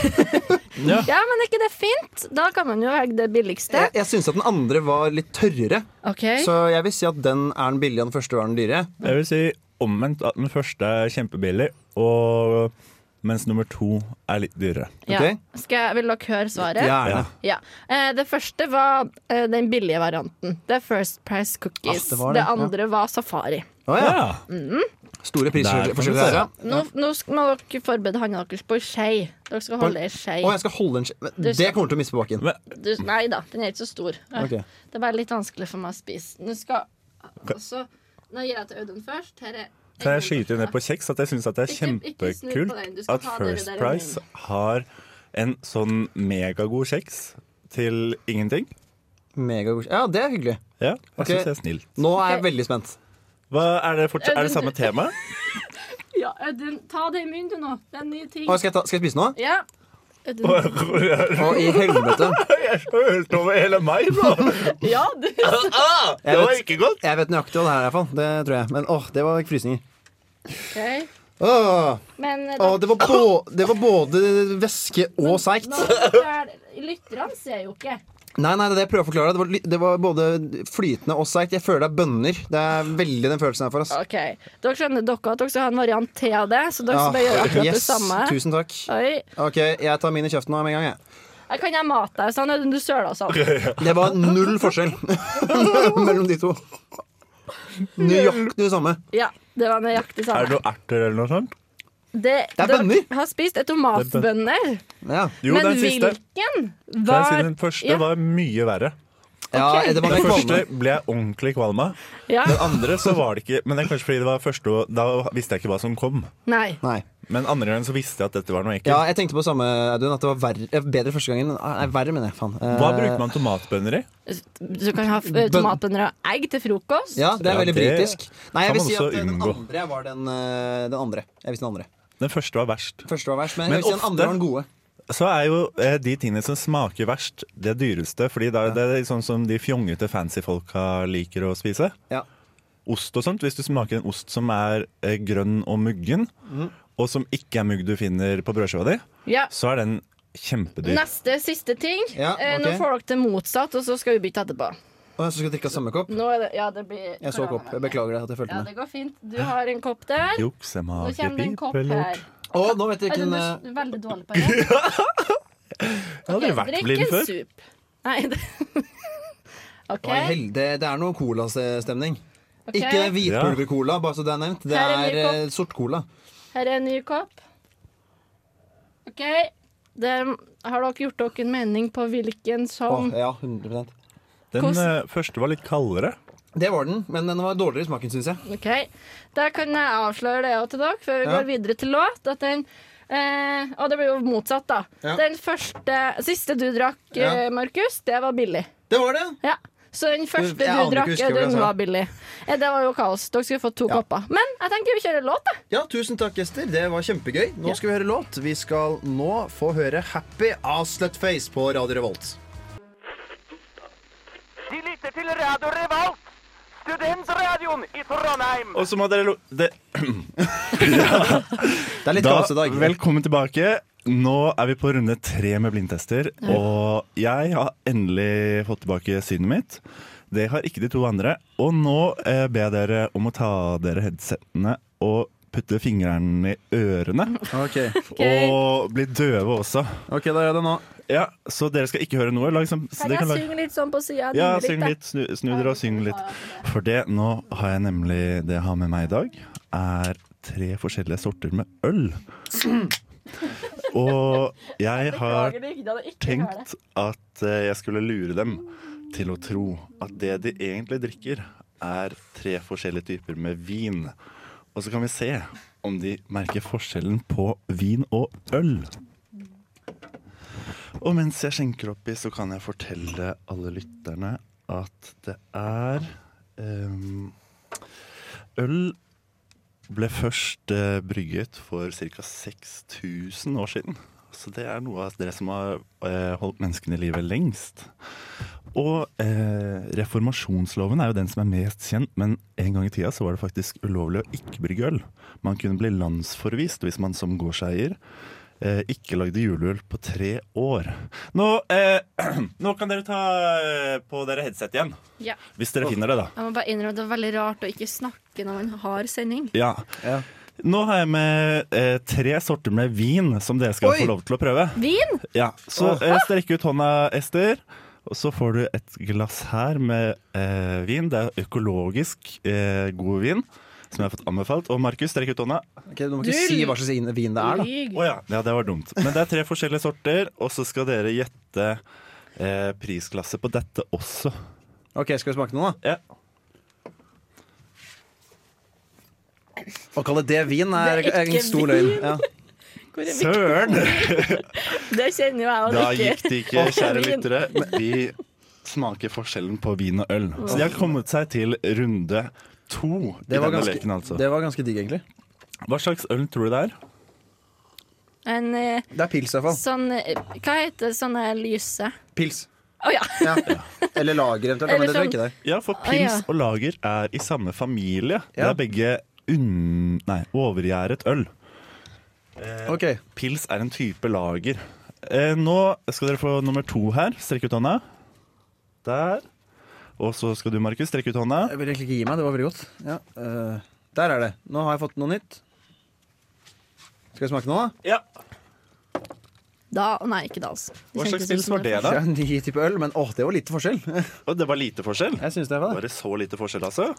Speaker 3: Ja, men er ikke det fint? Da kan man jo velge det billigste.
Speaker 2: Jeg, jeg syns at den andre var litt tørrere,
Speaker 3: Ok.
Speaker 2: Eh, så jeg vil si at den er den billige, og den første var den dyre.
Speaker 4: Jeg vil si omvendt at den første er kjempebillig, og mens nummer to er litt dyrere.
Speaker 3: Ja.
Speaker 2: Ok.
Speaker 3: Skal jeg, vil dere høre svaret?
Speaker 2: Gjerne.
Speaker 3: Ja. Eh, det første var eh, den billige varianten. Det er First Price
Speaker 2: Ah,
Speaker 3: Cookies. det,
Speaker 2: det var det,
Speaker 3: andre var Safari.
Speaker 2: Å ja.
Speaker 4: Ja.
Speaker 3: Mm.
Speaker 2: Store
Speaker 4: Der kan
Speaker 2: prisforskjeller
Speaker 4: du se.
Speaker 2: der, ja.
Speaker 3: Nå, nå skal- må dere forberede hånda deres på ei skje. Dere skal holde ei skje.
Speaker 2: Å, jeg skal holde en skje Men Det kommer til å miste på bakken.
Speaker 3: Du- Nei da, den er ikke så stor. Eh,
Speaker 2: Ok.
Speaker 3: Det er bare litt vanskelig for meg å spise. Nå skal også, Nå gir jeg til Audun først. Her er
Speaker 4: Kan jeg skyte ned på kjeks at jeg syns det er
Speaker 3: Ikke- ikke snu på den, du
Speaker 4: kjempekult
Speaker 3: skal
Speaker 4: at
Speaker 3: ta dere
Speaker 4: First
Speaker 3: der i
Speaker 4: Price har en sånn megagod kjeks til ingenting.
Speaker 2: Megagod. Ja, det er hyggelig.
Speaker 4: Ja, jeg
Speaker 2: Ok.
Speaker 4: syns det er snill.
Speaker 2: Nå er jeg veldig spent.
Speaker 4: Hva, er, det fortsatt, er det samme tema?
Speaker 3: Ja, Audun, ta det i munnen du nå. Det er en ny ting.
Speaker 2: Å, skal, jeg ta, skal jeg spise nå?
Speaker 3: Ja. Audun.
Speaker 2: Å, i helvete.
Speaker 4: Jeg følte over hele meg, bro!
Speaker 3: Ja, du.
Speaker 2: Jeg vet,
Speaker 4: ikke godt.
Speaker 2: jeg vet nøyaktig hva det er, i hvert fall. Det tror jeg. Men åh, det var frysninger.
Speaker 3: Ok.
Speaker 2: Åh,
Speaker 3: Men eh,
Speaker 2: åh, det, var bå- det var både væske og seigt.
Speaker 3: Nå skal jeg- Lytterne ser jo ikke.
Speaker 2: Nei, nei, det er det jeg prøver å forklare. Det var, ly- det var både flytende og seigt. Jeg føler det er bønner. Det er veldig den følelsen her for oss.
Speaker 3: Ok, Dere skjønner dere at dere skal ha en variant til av det, så dere skal bare gjøre akkurat det
Speaker 2: Ah, yes,
Speaker 3: samme.
Speaker 2: tusen takk.
Speaker 3: Oi,
Speaker 2: Ok, jeg tar min i kjeften nå med en gang, jeg.
Speaker 3: jeg kan jeg mate deg sånn, Audun? Du søla sånn.
Speaker 2: Det var null forskjell mellom de to. Nøyaktig det samme.
Speaker 3: Ja, det var
Speaker 4: Er
Speaker 3: nøyaktig
Speaker 4: det
Speaker 3: samme.
Speaker 4: noen erter eller noe sånt?
Speaker 3: Det,
Speaker 2: er bønner.
Speaker 3: Dere har spist er tomatbønner.
Speaker 2: Ja,
Speaker 4: Jo,
Speaker 3: Men
Speaker 4: den siste.
Speaker 3: hvilken
Speaker 4: Den,
Speaker 3: var
Speaker 4: siden den første
Speaker 3: ja,
Speaker 4: var mye verre.
Speaker 2: ja
Speaker 3: Ok.
Speaker 2: det
Speaker 4: Den
Speaker 2: var mer
Speaker 4: første
Speaker 2: kvalme.
Speaker 4: ble jeg ordentlig kvalm av.
Speaker 3: ja.
Speaker 4: Den andre så var det ikke Men det er kanskje fordi det var første og- Da visste jeg ikke hva som kom.
Speaker 3: Nei.
Speaker 2: Nei.
Speaker 4: Men andre gangen så visste jeg at dette var noe ekkelt.
Speaker 2: Ja, jeg tenkte på det samme, Audun. At det var verre, eh, bedre første gangen. Nei, verre, mener jeg. Faen. Eh,
Speaker 4: Hva bruker man tomatbønner i?
Speaker 3: Du kan ha eh, tomatbønner og egg til frokost.
Speaker 2: Eh, Ja, det er
Speaker 4: Ja,
Speaker 2: veldig
Speaker 4: det
Speaker 2: britisk.
Speaker 4: kan
Speaker 2: Nei, jeg vil
Speaker 4: man
Speaker 2: si
Speaker 4: også
Speaker 2: at eh, den
Speaker 4: unngå.
Speaker 2: andre var den, eh, den andre. Jeg vil si den andre.
Speaker 4: Den første var verst.
Speaker 2: Første var verst, men,
Speaker 4: Men
Speaker 2: jeg vil si den
Speaker 4: ofte-
Speaker 2: andre var den gode.
Speaker 4: Så er jo eh, de tingene som smaker verst, det dyreste. Fordi det er, det er sånn som de fjongete fancyfolka liker å spise.
Speaker 2: Ja.
Speaker 4: Ost og sånt. Hvis du smaker en ost som er eh, grønn og muggen, og som ikke er mugg du finner på brødskiva di,
Speaker 3: Ja.
Speaker 4: så er den kjempedyr.
Speaker 3: Neste, siste ting.
Speaker 2: Ja,
Speaker 3: Eh, Nå
Speaker 2: ok.
Speaker 3: får dere det motsatt, og så skal vi bytte etterpå.
Speaker 2: Og jeg skal drikke av samme kopp.
Speaker 3: Nå er det, ja, det blir
Speaker 2: Jeg så kopp. Jeg beklager deg at jeg
Speaker 3: Ja,
Speaker 2: fulgte med.
Speaker 3: det går fint. Du har en kopp der. Nå
Speaker 4: Juksemake,
Speaker 3: kommer det en kopp
Speaker 4: pipelort.
Speaker 3: her.
Speaker 2: Å, nå vet jeg
Speaker 3: Nei,
Speaker 2: ikke
Speaker 3: den
Speaker 2: den
Speaker 3: er
Speaker 2: eh,
Speaker 3: s- veldig dårlig på det.
Speaker 4: Jeg har aldri vært blind
Speaker 3: Drikk en
Speaker 4: før.
Speaker 3: sup. Nei, det OK.
Speaker 2: Oi, hel- det, det er noe colastemning.
Speaker 3: ok.
Speaker 2: Ikke den hvitpulver-cola, bare så det er nevnt. Det
Speaker 3: Her er en
Speaker 2: er
Speaker 3: ny
Speaker 2: eh, sort cola.
Speaker 3: Her er en ny kopp. OK. Det, har dere gjort dere en mening på hvilken
Speaker 2: Åh,
Speaker 3: som
Speaker 2: ja, 100
Speaker 4: Den eh, første var litt kaldere.
Speaker 2: Det var den, men den var dårligere i smaken, syns jeg.
Speaker 3: OK. Da kan jeg avsløre det også til dere, før vi
Speaker 2: Ja.
Speaker 3: går videre til låt. At den eh, Og det blir jo motsatt, da.
Speaker 2: Ja.
Speaker 3: Den første, siste du drakk, eh,
Speaker 2: Ja.
Speaker 3: Markus, det var billig.
Speaker 2: Det var det!
Speaker 3: Ja. Så den første
Speaker 2: Jeg aner
Speaker 3: du
Speaker 2: ikke,
Speaker 3: drakk,
Speaker 2: husker jeg hva jeg
Speaker 3: den
Speaker 2: sa.
Speaker 3: var billig. Eh, Det var jo kaos. Dere skulle fått to
Speaker 2: Ja.
Speaker 3: kopper. Men jeg tenker vi kjører låt, da.
Speaker 2: Ja, tusen takk, gjester. Det var kjempegøy. Nå skal vi høre låt. Vi skal nå få høre 'Happy av Slutface på Radio Revolt.
Speaker 7: De lytter til Radio Revolt, studentradioen i Trondheim.
Speaker 4: Og så må dere lo... Det,
Speaker 2: Det er litt
Speaker 4: da,
Speaker 2: kaos i dag.
Speaker 4: velkommen tilbake. Nå er vi på runde tre med blindtester, og jeg har endelig fått tilbake synet mitt. Det har ikke de to andre. Og nå eh, ber jeg dere om å ta av dere headsettene og putte fingrene i ørene.
Speaker 2: Ok,
Speaker 4: Og bli døve også.
Speaker 2: Ok, da gjør jeg det nå.
Speaker 4: Ja, Så dere skal ikke høre noe? Lag som, så dere
Speaker 3: Kan jeg
Speaker 4: kan lage-
Speaker 3: synge litt sånn på sida?
Speaker 4: Ja, syng litt. Snu, snu dere og syng litt. For det, nå har jeg nemlig Det jeg har med meg i dag, er tre forskjellige sorter med øl. Og jeg har
Speaker 3: Beklager du ikke, da hadde jeg ikke hørt det.
Speaker 4: tenkt at eh, jeg skulle lure dem til å tro at det de egentlig drikker, er tre forskjellige typer med vin. Og så kan vi se om de merker forskjellen på vin og øl. Og mens jeg skjenker oppi, så kan jeg fortelle alle lytterne at det er ehm, Øl ble først eh, brygget for ca. 6000 år siden. Så det er noe av det som har eh, holdt menneskene i live lengst. Og eh, reformasjonsloven er jo den som er mest kjent, men en gang i tida så var det faktisk ulovlig å ikke brygge øl. Man kunne bli landsforvist hvis man som gårdseier eh, ikke lagde juleøl på tre år. Nå, eh, nå kan dere ta eh, på dere headset igjen.
Speaker 3: Ja.
Speaker 4: Hvis dere finner det, da.
Speaker 3: Jeg må bare innrømme at det er veldig rart å ikke snakke når man har sending.
Speaker 4: Ja. Nå har jeg med eh, tre sorter med vin som dere skal
Speaker 8: Oi!
Speaker 4: få lov til å prøve.
Speaker 3: Vin!
Speaker 4: Ja, Så eh, strekk ut hånda, Ester. Og så får du et glass her med eh, vin. Det er økologisk eh, god vin som jeg har fått anbefalt. Og Markus, strekk ut hånda.
Speaker 2: Ok, du må ikke si hva slags vin- vin det er, da.
Speaker 3: Lyg.
Speaker 4: Å ja. ja, det var dumt. Men det er tre forskjellige sorter, og så skal dere gjette eh, prisklasse på dette også.
Speaker 2: Ok, Skal vi smake noe, da?
Speaker 4: Ja.
Speaker 2: Å kalle det vin er,
Speaker 3: Det er ikke
Speaker 2: en stor
Speaker 3: vin.
Speaker 2: løgn. Ja.
Speaker 3: Hvor er vi?
Speaker 4: Søren!
Speaker 3: Det kjenner jo jeg
Speaker 4: Da
Speaker 3: og
Speaker 4: gikk
Speaker 3: ikke.
Speaker 4: det ikke, kjære
Speaker 3: Vin.
Speaker 4: lyttere. Vi smaker forskjellen på vin og øl. Så de har kommet seg til runde to i
Speaker 2: Det, var
Speaker 4: denne
Speaker 2: ganske,
Speaker 4: leken, altså.
Speaker 2: det var ganske digg, egentlig.
Speaker 4: Hva slags øl tror du det er?
Speaker 3: En eh,
Speaker 2: Det er pils, i hvert fall.
Speaker 3: sånn eh, Hva heter sånne lyse?
Speaker 2: Pils.
Speaker 3: Å ja.
Speaker 2: Ja. Eller lager, eventuelt. Men
Speaker 3: Eller
Speaker 2: det tror jeg
Speaker 3: sånn-
Speaker 2: ikke det er.
Speaker 4: Ja, for
Speaker 3: Å, ja.
Speaker 4: pils og lager er i samme familie. Det
Speaker 2: Ja.
Speaker 4: er begge unn... Nei, overgjæret øl.
Speaker 2: Ok,
Speaker 4: Pils er en type lager. Eh, nå skal dere få nummer to her. Strekk ut hånda. Der. Og så skal du, Markus, strekke ut hånda.
Speaker 2: Jeg vil egentlig ikke gi meg. Det var veldig godt. Ja. eh, der er det. Nå har jeg fått noe nytt. Skal vi smake nå, da?
Speaker 4: Ja.
Speaker 3: Da Nei, ikke Dals.
Speaker 4: Hva slags pils var det,
Speaker 2: Det
Speaker 4: da?
Speaker 2: er en ny type øl, men åh, det var lite forskjell. Jeg
Speaker 4: Og det var lite forskjell.
Speaker 2: synes det var
Speaker 4: Var
Speaker 2: det.
Speaker 4: det så lite forskjell, altså?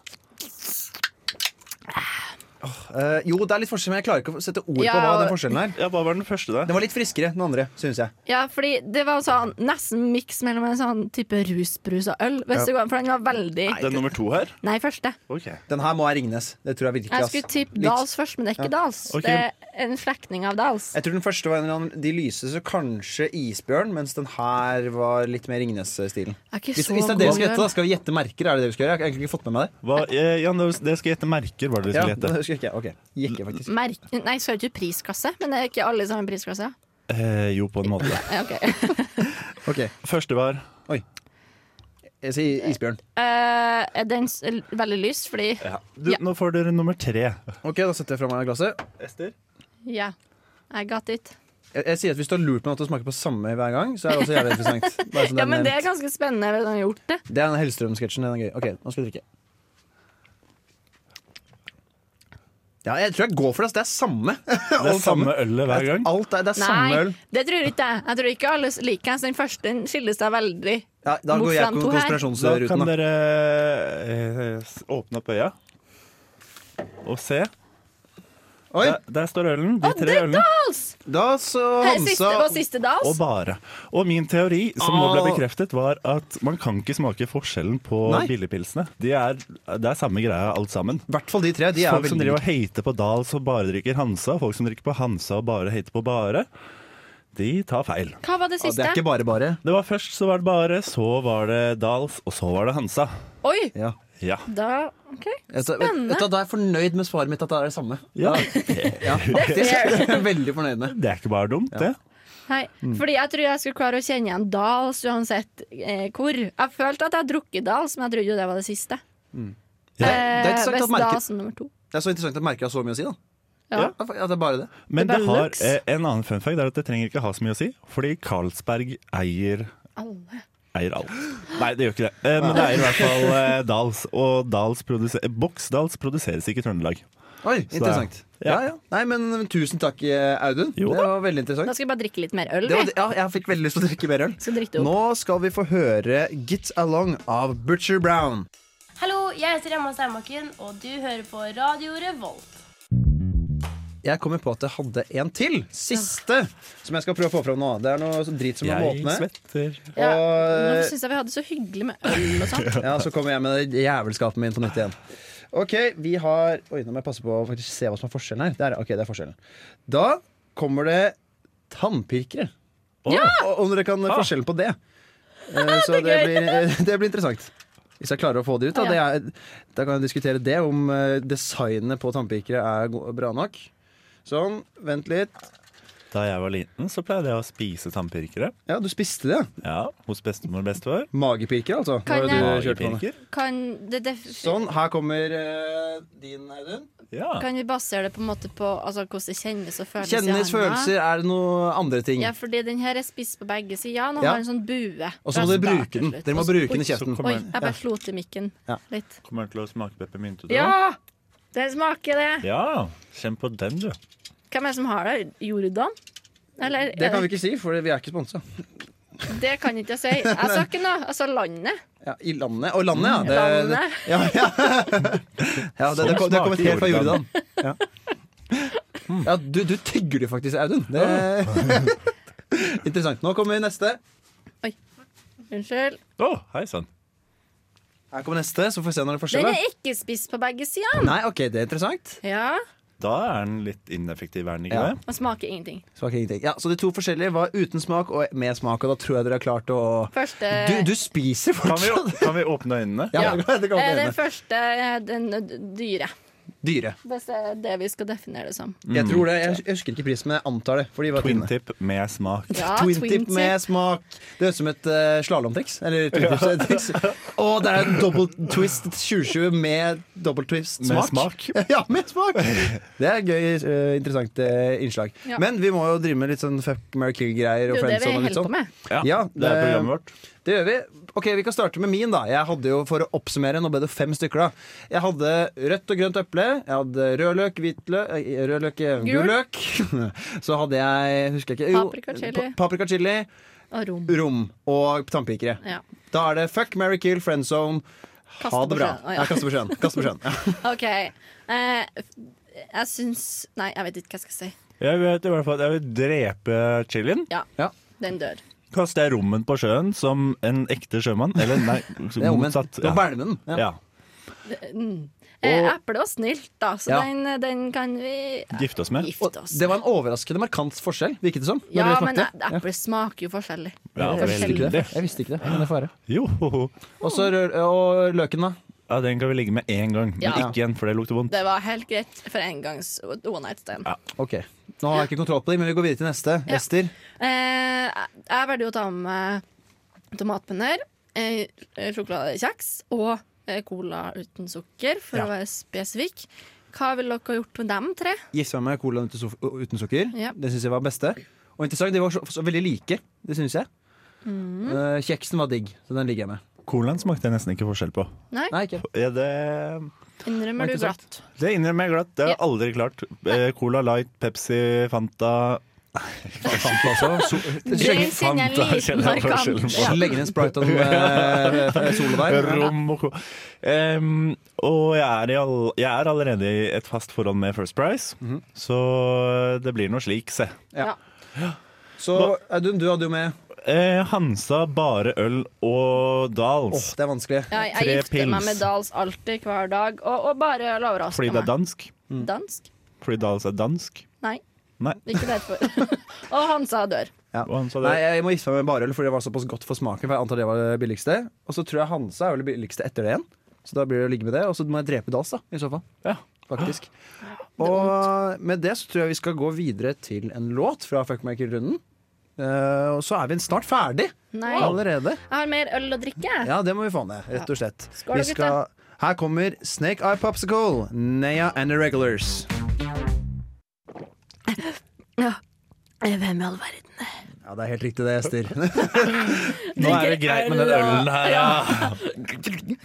Speaker 2: Eh, jo, det er litt forskjell, men jeg klarer ikke å sette ord på hva
Speaker 3: Ja,
Speaker 2: den forskjellen er.
Speaker 4: Ja, Hva var den første, da?
Speaker 2: Den var litt friskere enn den andre, synes jeg.
Speaker 3: Ja, fordi det var sånn nesten miks mellom en sånn type rusbrus og øl. Hvis det går an, for den var veldig
Speaker 4: Den nummer to her?
Speaker 3: Nei, første.
Speaker 4: Ok.
Speaker 2: Den her må jeg Ringnes. Det tror jeg virkelig.
Speaker 3: Jeg
Speaker 2: ass.
Speaker 3: skulle tippe
Speaker 2: Litt-
Speaker 3: Dals først, men det er ikke Dals.
Speaker 4: Ok.
Speaker 3: Det er en slektning av Dals.
Speaker 2: Jeg tror den første var en eller annen De lyse, så kanskje isbjørn, mens den her var litt mer Ringnes-stilen.
Speaker 3: Jeg er ikke
Speaker 2: Hvis,
Speaker 3: så
Speaker 2: hvis det er det vi skal
Speaker 3: god,
Speaker 2: gjette, da skal vi gjette merker. Er det det vi skal gjøre? Jeg har egentlig ikke fått med meg det.
Speaker 4: Hva, eh, Jan, dere skal gjette merker, var det dere
Speaker 2: Ja,
Speaker 4: skulle
Speaker 2: det
Speaker 4: gjette?
Speaker 2: husker jeg ikke. Ok, Jekke, faktisk.
Speaker 3: Merk Nei, så er det ikke priskasse, men det er ikke alle i samme priskasse.
Speaker 4: Eh, jo, på en måte.
Speaker 3: Ja, ok.
Speaker 2: Ok,
Speaker 4: Første var
Speaker 2: jeg sier isbjørn.
Speaker 3: Eh, er den s veldig lys, fordi
Speaker 4: du,
Speaker 3: Ja.
Speaker 4: Nå får dere nummer tre.
Speaker 2: Ok, da setter jeg fra meg glasset.
Speaker 4: Ester?
Speaker 3: Ja, I got it.
Speaker 2: Jeg, jeg sier at Hvis du har lurt meg til å smake på samme hver gang, så er det også jævlig interessant. Bare sånn
Speaker 3: Ja, men det er
Speaker 2: nevnt.
Speaker 3: ganske spennende hvis han har gjort det.
Speaker 2: det er den Hellstrøm-sketsjen. Den er gøy. Ok, nå skal vi drikke. Ja, jeg tror jeg går for det. ass. Det er samme.
Speaker 4: Det er samme ølet hver gang.
Speaker 2: Alt er, det er samme
Speaker 3: Nei,
Speaker 2: øl.
Speaker 3: det tror jeg ikke jeg. Jeg tror ikke alle liker den. så Den første den skiller seg veldig.
Speaker 2: Ja, da
Speaker 3: Bort
Speaker 2: går jeg
Speaker 3: fra de
Speaker 2: på
Speaker 3: to
Speaker 4: Da
Speaker 3: her.
Speaker 4: kan
Speaker 2: konspirasjonsruten. Da.
Speaker 4: dere eh, s- åpne opp øya og se.
Speaker 2: Oi, Ah,
Speaker 4: Der, der står ølen. De tre ølene.
Speaker 2: da så
Speaker 3: Her, siste,
Speaker 2: Hansa
Speaker 3: og siste dans.
Speaker 4: Og bare. Og min teori, som nå
Speaker 2: Åh.
Speaker 4: ble bekreftet, var at man kan ikke smake forskjellen på
Speaker 2: Nei.
Speaker 4: billigpilsene. De er, det er samme greia alt sammen.
Speaker 2: I hvert fall de tre. De er
Speaker 4: folk som
Speaker 2: veldig
Speaker 4: driver og hater på Dals og bare drikker Hansa, og folk som drikker på Hansa og bare hater på Bare, de tar feil.
Speaker 3: Hva var det
Speaker 2: Ja, Det
Speaker 3: siste?
Speaker 2: er ikke bare bare.
Speaker 4: Det var først så var det Bare, så var det Dals, og så var det Hansa.
Speaker 3: Oi!
Speaker 2: Ja.
Speaker 4: Ja.
Speaker 3: Da OK.
Speaker 2: Jeg, sa- vet, vet du, da er jeg fornøyd med svaret mitt, at det er det samme.
Speaker 4: Ja.
Speaker 2: Ja, faktisk. Jeg er veldig fornøyd med.
Speaker 4: Det er ikke bare dumt, det.
Speaker 3: Hei.
Speaker 2: Mm.
Speaker 3: Fordi jeg tror jeg skulle klare å kjenne igjen Dals uansett eh, hvor. Jeg følte at jeg har drukket Dals, men jeg trodde jo det var det siste.
Speaker 4: Ja.
Speaker 2: Mm. Det er ikke
Speaker 3: Eh,
Speaker 2: sagt at
Speaker 3: hvis
Speaker 2: merke-
Speaker 3: Dals er nummer to.
Speaker 2: Det er så interessant at merker har så mye å si, da.
Speaker 3: Ja.
Speaker 2: At det er bare det.
Speaker 4: Men
Speaker 3: Det
Speaker 4: det
Speaker 3: er
Speaker 4: har
Speaker 3: lux.
Speaker 4: eh, en annen fun fact, det er at det trenger ikke ha så mye å si, fordi Carlsberg eier
Speaker 3: Alle.
Speaker 4: Eier alt. Nei, det gjør ikke det. Eh, men det eier i hvert fall eh, Dals. Og Dals produser, eh, Boksdals produseres ikke i Trøndelag.
Speaker 2: Oi, interessant.
Speaker 4: Ja.
Speaker 2: Ja, ja. Nei, men tusen takk, eh, Audun.
Speaker 4: Jo
Speaker 2: det var veldig
Speaker 3: Da
Speaker 2: interessant.
Speaker 3: skal jeg bare drikke litt mer øl.
Speaker 2: Det var,
Speaker 3: vi.
Speaker 2: ja, jeg fikk veldig lyst til å drikke mer øl.
Speaker 3: Skal drikke det opp.
Speaker 2: Nå skal vi få høre Get Along av Butcher Brown.
Speaker 9: Hallo, jeg heter Emma Steinbakken, og du hører på Radio Revolt.
Speaker 2: Jeg kommer på at jeg hadde en til. Siste, som jeg skal prøve å få fram nå. Det er noe sånn drit som jeg må åpne.
Speaker 4: svetter.
Speaker 3: Ja, nå
Speaker 2: Og-
Speaker 3: syns jeg vi hadde det så hyggelig med øl og sånt.
Speaker 2: Ja, så kommer jeg med det jævelskapet min på nytt igjen. Ok, vi har Oi, nå må jeg passe på å faktisk se hva som er forskjellen her. Der, ok, det er forskjellen Da kommer det tannpirkere. Og Om dere kan forskjellen på det. Eh, Så det
Speaker 3: gøy.
Speaker 2: blir, eh, det blir interessant. Hvis jeg klarer å få det ut, da. Det
Speaker 3: Ja.
Speaker 2: er, da kan jeg diskutere det, om eh, designet på tannpirkere er go- bra nok. Sånn, vent litt.
Speaker 4: Da jeg var liten, så pleide jeg å spise tannpirkere.
Speaker 2: Ja, du spiste det.
Speaker 4: Ja, Hos bestemor og bestefar.
Speaker 2: Magepirker, altså.
Speaker 3: Kan
Speaker 2: var det du
Speaker 4: Magepirker.
Speaker 2: kjørte på med.
Speaker 3: Kan, det, det,
Speaker 2: Sånn, her kommer eh, din, Audun.
Speaker 4: Ja.
Speaker 3: kan vi basere det på en måte på altså, hvordan det kjennes og føles? i
Speaker 2: Kjennes
Speaker 3: handa?
Speaker 2: følelser, er det noe andre ting?
Speaker 3: Ja, fordi den her er spiss på begge sider. Han
Speaker 2: Mm. Ja.
Speaker 3: har en sånn bue.
Speaker 2: Og så må dere
Speaker 3: Fra start
Speaker 2: bruke
Speaker 3: til
Speaker 2: den.
Speaker 3: slutt.
Speaker 2: Dere må
Speaker 3: Og så-
Speaker 2: bruke den i
Speaker 4: Så
Speaker 2: kjeften.
Speaker 4: kommer
Speaker 3: Oi,
Speaker 4: den.
Speaker 3: jeg bare slo til mikken
Speaker 2: Ja.
Speaker 3: litt.
Speaker 4: Kommer den til å smake peppermynte? da?
Speaker 3: Ja! Den smaker det.
Speaker 4: ja! Kjenn på den, du.
Speaker 3: Hvem er det som har det? Jordan? Eller, eh,
Speaker 2: Det kan vi ikke si, for vi er ikke sponsa.
Speaker 3: det kan ikke jeg si. Jeg sa ikke noe. Jeg sa landet.
Speaker 2: Ja, I landet. Og landet, ja. Det,
Speaker 3: Mm. Landet.
Speaker 2: ja, ja. ja det, det, kom, det kom et helt fra Sånn Jordan. Ja. Ja, du, du tygger det faktisk, Audun. Det... Interessant. Nå kommer neste.
Speaker 3: Unnskyld.
Speaker 4: Å, hei sann.
Speaker 2: Her kommer neste, så får vi se når det er
Speaker 3: Den
Speaker 2: forskjell.
Speaker 3: er
Speaker 2: da.
Speaker 3: ikke spiss på begge sider.
Speaker 2: Nei, ok, det er interessant.
Speaker 3: Ja.
Speaker 4: Da er den litt ineffektiv, er den ikke
Speaker 2: Ja.
Speaker 4: det?
Speaker 3: Man smaker ingenting.
Speaker 2: Smak ingenting. Ja, så de to forskjellige var uten smak og med smak, og da tror jeg dere har klart å
Speaker 3: Første
Speaker 2: Du, du spiser
Speaker 4: Kan vi,
Speaker 2: fortsatt.
Speaker 4: kan vi åpne øynene?
Speaker 2: Ja, det kan
Speaker 3: Eh,
Speaker 2: vi
Speaker 3: Den
Speaker 2: gjøre.
Speaker 3: første eh, den eh, dyre.
Speaker 2: Dyre.
Speaker 3: Hvis det er det vi skal definere det som.
Speaker 2: Jeg tror det, jeg husker ikke prisen, men jeg antar det. For de var
Speaker 4: Twin
Speaker 2: tynne.
Speaker 4: tip med smak.
Speaker 3: Ja,
Speaker 2: Twin
Speaker 3: twin
Speaker 2: tip med smak. Det høres ut som et uh, slalåmtriks. Eller twintips-triks. Og det er double twist 2020 med double twist
Speaker 4: Med
Speaker 2: smak.
Speaker 4: smak.
Speaker 2: ja, med smak! Det er gøy, eh, interessant eh, innslag.
Speaker 3: Ja.
Speaker 2: Men vi må jo drive med litt sånn fuck, marry, kill-greier.
Speaker 3: Det
Speaker 2: og
Speaker 3: er jo det
Speaker 2: friends og
Speaker 3: vi
Speaker 2: litt
Speaker 3: holder på
Speaker 2: sånn.
Speaker 3: med.
Speaker 2: Ja,
Speaker 4: Det er programmet vårt.
Speaker 2: Det gjør vi. Ok, Vi kan starte med min. da Jeg hadde jo, For å oppsummere, nå ble det fem stykker. da Jeg hadde rødt og grønt eple. Jeg hadde rødløk, hvitløk eh, Rødløk, eh,
Speaker 3: Gul.
Speaker 2: gul løk. Så hadde jeg husker jeg ikke jo,
Speaker 3: Paprika chili.
Speaker 2: pa- Paprika chili,
Speaker 3: Og rom.
Speaker 2: rom og tannpikere.
Speaker 3: Ja.
Speaker 2: Da er det fuck, marry, kill, friend zone. Ha det
Speaker 3: Kaste på
Speaker 2: bra.
Speaker 3: sjøen. Å, ja.
Speaker 2: Ja, kaste på sjøen. Kaste på sjøen. Ja.
Speaker 3: OK. Eh, jeg syns Nei, jeg vet ikke hva jeg skal si.
Speaker 4: Jeg vet i hvert fall at jeg vil drepe chilien.
Speaker 3: Ja.
Speaker 2: Ja.
Speaker 3: Den dør.
Speaker 4: Kaster jeg rommen på sjøen som en ekte sjømann? Eller nei,
Speaker 2: Det er omvendt.
Speaker 4: motsatt.
Speaker 2: Det var Bælmen. Ja.
Speaker 4: Ja.
Speaker 3: Eh,
Speaker 2: Og-
Speaker 3: Eple var snilt, da, så
Speaker 2: Ja.
Speaker 3: den, den kan vi
Speaker 4: Gifte oss med.
Speaker 2: Og
Speaker 3: gifte oss
Speaker 2: det var en overraskende markant forskjell, virket det som. når
Speaker 3: Ja,
Speaker 2: dere
Speaker 3: men
Speaker 2: smakte.
Speaker 3: e- eple smaker jo forskjellig.
Speaker 4: Ja,
Speaker 2: Jeg visste ikke det. Jeg visste ikke det, men det får være.
Speaker 4: Jo, ho, ho.
Speaker 2: Og så rød- og løken, da.
Speaker 4: Ja, den kan vi ligge med én gang, men
Speaker 3: Ja.
Speaker 4: ikke igjen, for det lukter vondt.
Speaker 3: Det var helt greit for engangs one night stand.
Speaker 4: Ja.
Speaker 2: Ok, Nå har jeg ikke kontroll på dem, men vi går videre til neste.
Speaker 3: Ja.
Speaker 2: Ester.
Speaker 3: Eh, jeg- jeg valgte jo å ta med meg tomatpønner, eh, sjokoladekjeks og eh, cola uten sukker, for
Speaker 2: Ja.
Speaker 3: å være spesifikk. Hva ville dere ha gjort med dem tre?
Speaker 2: Gifta meg med colaen uten su- uten sukker.
Speaker 3: Ja.
Speaker 2: Det syns jeg var beste. Og interessant, De var så, så veldig like. Det syns jeg.
Speaker 3: Mm.
Speaker 2: Eh, kjeksen var digg, så den ligger jeg med.
Speaker 4: Colaen smakte jeg nesten ikke forskjell på.
Speaker 3: Nei,
Speaker 2: Nei, ikke.
Speaker 4: Er det
Speaker 3: innrømmer du
Speaker 2: interessant.
Speaker 3: glatt.
Speaker 4: det innrømmer jeg glatt. Det har jeg
Speaker 3: Ja.
Speaker 4: aldri klart. Eh, Cola Light, Pepsi, Fanta
Speaker 2: Fanta også. So
Speaker 3: Den kjenner jeg
Speaker 4: Fanta,
Speaker 3: liten
Speaker 4: kjenner jeg forskjellen
Speaker 3: markant.
Speaker 4: på.
Speaker 3: Ja.
Speaker 2: Legger inn sprite og noe eh, solo der.
Speaker 4: Rom og co. Em, og jeg er, i all, jeg er allerede i et fast forhold med First Price, så eh, det blir noe slik, se.
Speaker 3: Ja.
Speaker 2: Så Audun, du hadde jo med
Speaker 4: Eh, Hansa, Bare Øl og
Speaker 2: Åh,
Speaker 4: Dahls.
Speaker 2: det er vanskelig.
Speaker 3: Ja, jeg
Speaker 4: Tre
Speaker 3: gifter meg
Speaker 4: pils.
Speaker 3: med Dals alltid, hver dag, og, og bare
Speaker 4: Fordi
Speaker 3: overrasker
Speaker 4: det er
Speaker 3: meg.
Speaker 4: dansk.
Speaker 3: Dansk?
Speaker 4: Fordi Dahls er dansk.
Speaker 3: Nei,
Speaker 4: Nei.
Speaker 3: ikke derfor. og Hansa dør.
Speaker 2: Ja.
Speaker 4: Og han sa det.
Speaker 2: Nei, Jeg må gifte meg med barøl, fordi det var såpass godt for smaken. For jeg antar det var det billigste Og så tror jeg Hansa er vel det billigste etter det igjen. Så da blir det å ligge med det Og så må jeg drepe Dals, da, i så fall.
Speaker 4: Ja.
Speaker 2: Faktisk. Og med det så tror jeg vi skal gå videre til en låt fra Fuck Make It-runden. Eh, og så er vi snart ferdig
Speaker 3: Nei.
Speaker 2: allerede.
Speaker 3: Jeg har mer øl å drikke. jeg.
Speaker 2: Ja, det må vi få ned, rett og slett.
Speaker 3: Skål,
Speaker 2: vi skal... Her kommer Snake Eye Popsicle, Nea and the Regulars.
Speaker 3: Eh, Hvem i all verden?
Speaker 2: Ja, det er helt riktig det, Ester.
Speaker 4: Nå er det greit med den ølen her, ja.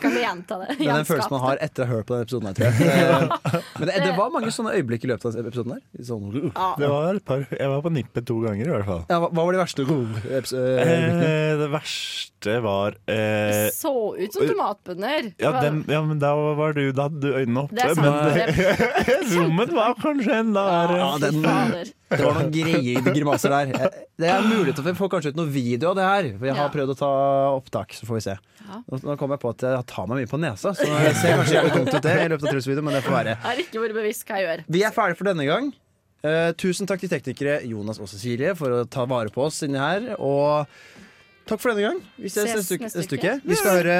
Speaker 3: Kan vi gjenta det?
Speaker 2: Det er den
Speaker 3: Gjenskape
Speaker 2: følelsen man
Speaker 3: det.
Speaker 2: har etter å ha hørt på den episoden. Her, tror jeg. Eh, Men det, det var mange sånne øyeblikk i løpet av den episoden. her sånn, uh.
Speaker 4: Det var et par Jeg var på nippet to ganger, i hvert fall.
Speaker 2: ja, hva, hva var de verste uh, eps- uh, øyeblikkene?
Speaker 4: Eh, det verste var eh,
Speaker 3: Så ut som tomatbønner.
Speaker 4: ja, dem, ja, men da var du Da hadde du øynene oppe.
Speaker 3: det er sant.
Speaker 4: Men eh,
Speaker 3: Det er,
Speaker 4: rommet var kanskje enda verre.
Speaker 2: Ja, den-
Speaker 3: fader.
Speaker 2: Det var noen greier i de grimaser der. Eh, Det er mulig at vi får kanskje ut noe video av det her. For jeg har
Speaker 3: Ja.
Speaker 2: prøvd å ta opptak, så får vi se.
Speaker 3: Ja.
Speaker 2: Nå nå kom jeg på at jeg tar meg mye på nesa, så det ser kanskje jævlig dumt ut det i løpet av trusselvideoen, men det får være.
Speaker 3: Jeg har ikke vært bevisst hva jeg gjør.
Speaker 2: Vi er ferdige for denne gang. Eh, tusen takk til teknikere Jonas og Cecilie for å ta vare på oss inni her. Og takk for denne gang. Vi ses, neste, uke, neste uke. Vi skal høre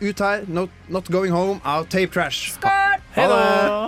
Speaker 2: ut her. Not, not Going Home av Tape Trash.
Speaker 3: Skål!
Speaker 2: Ha det!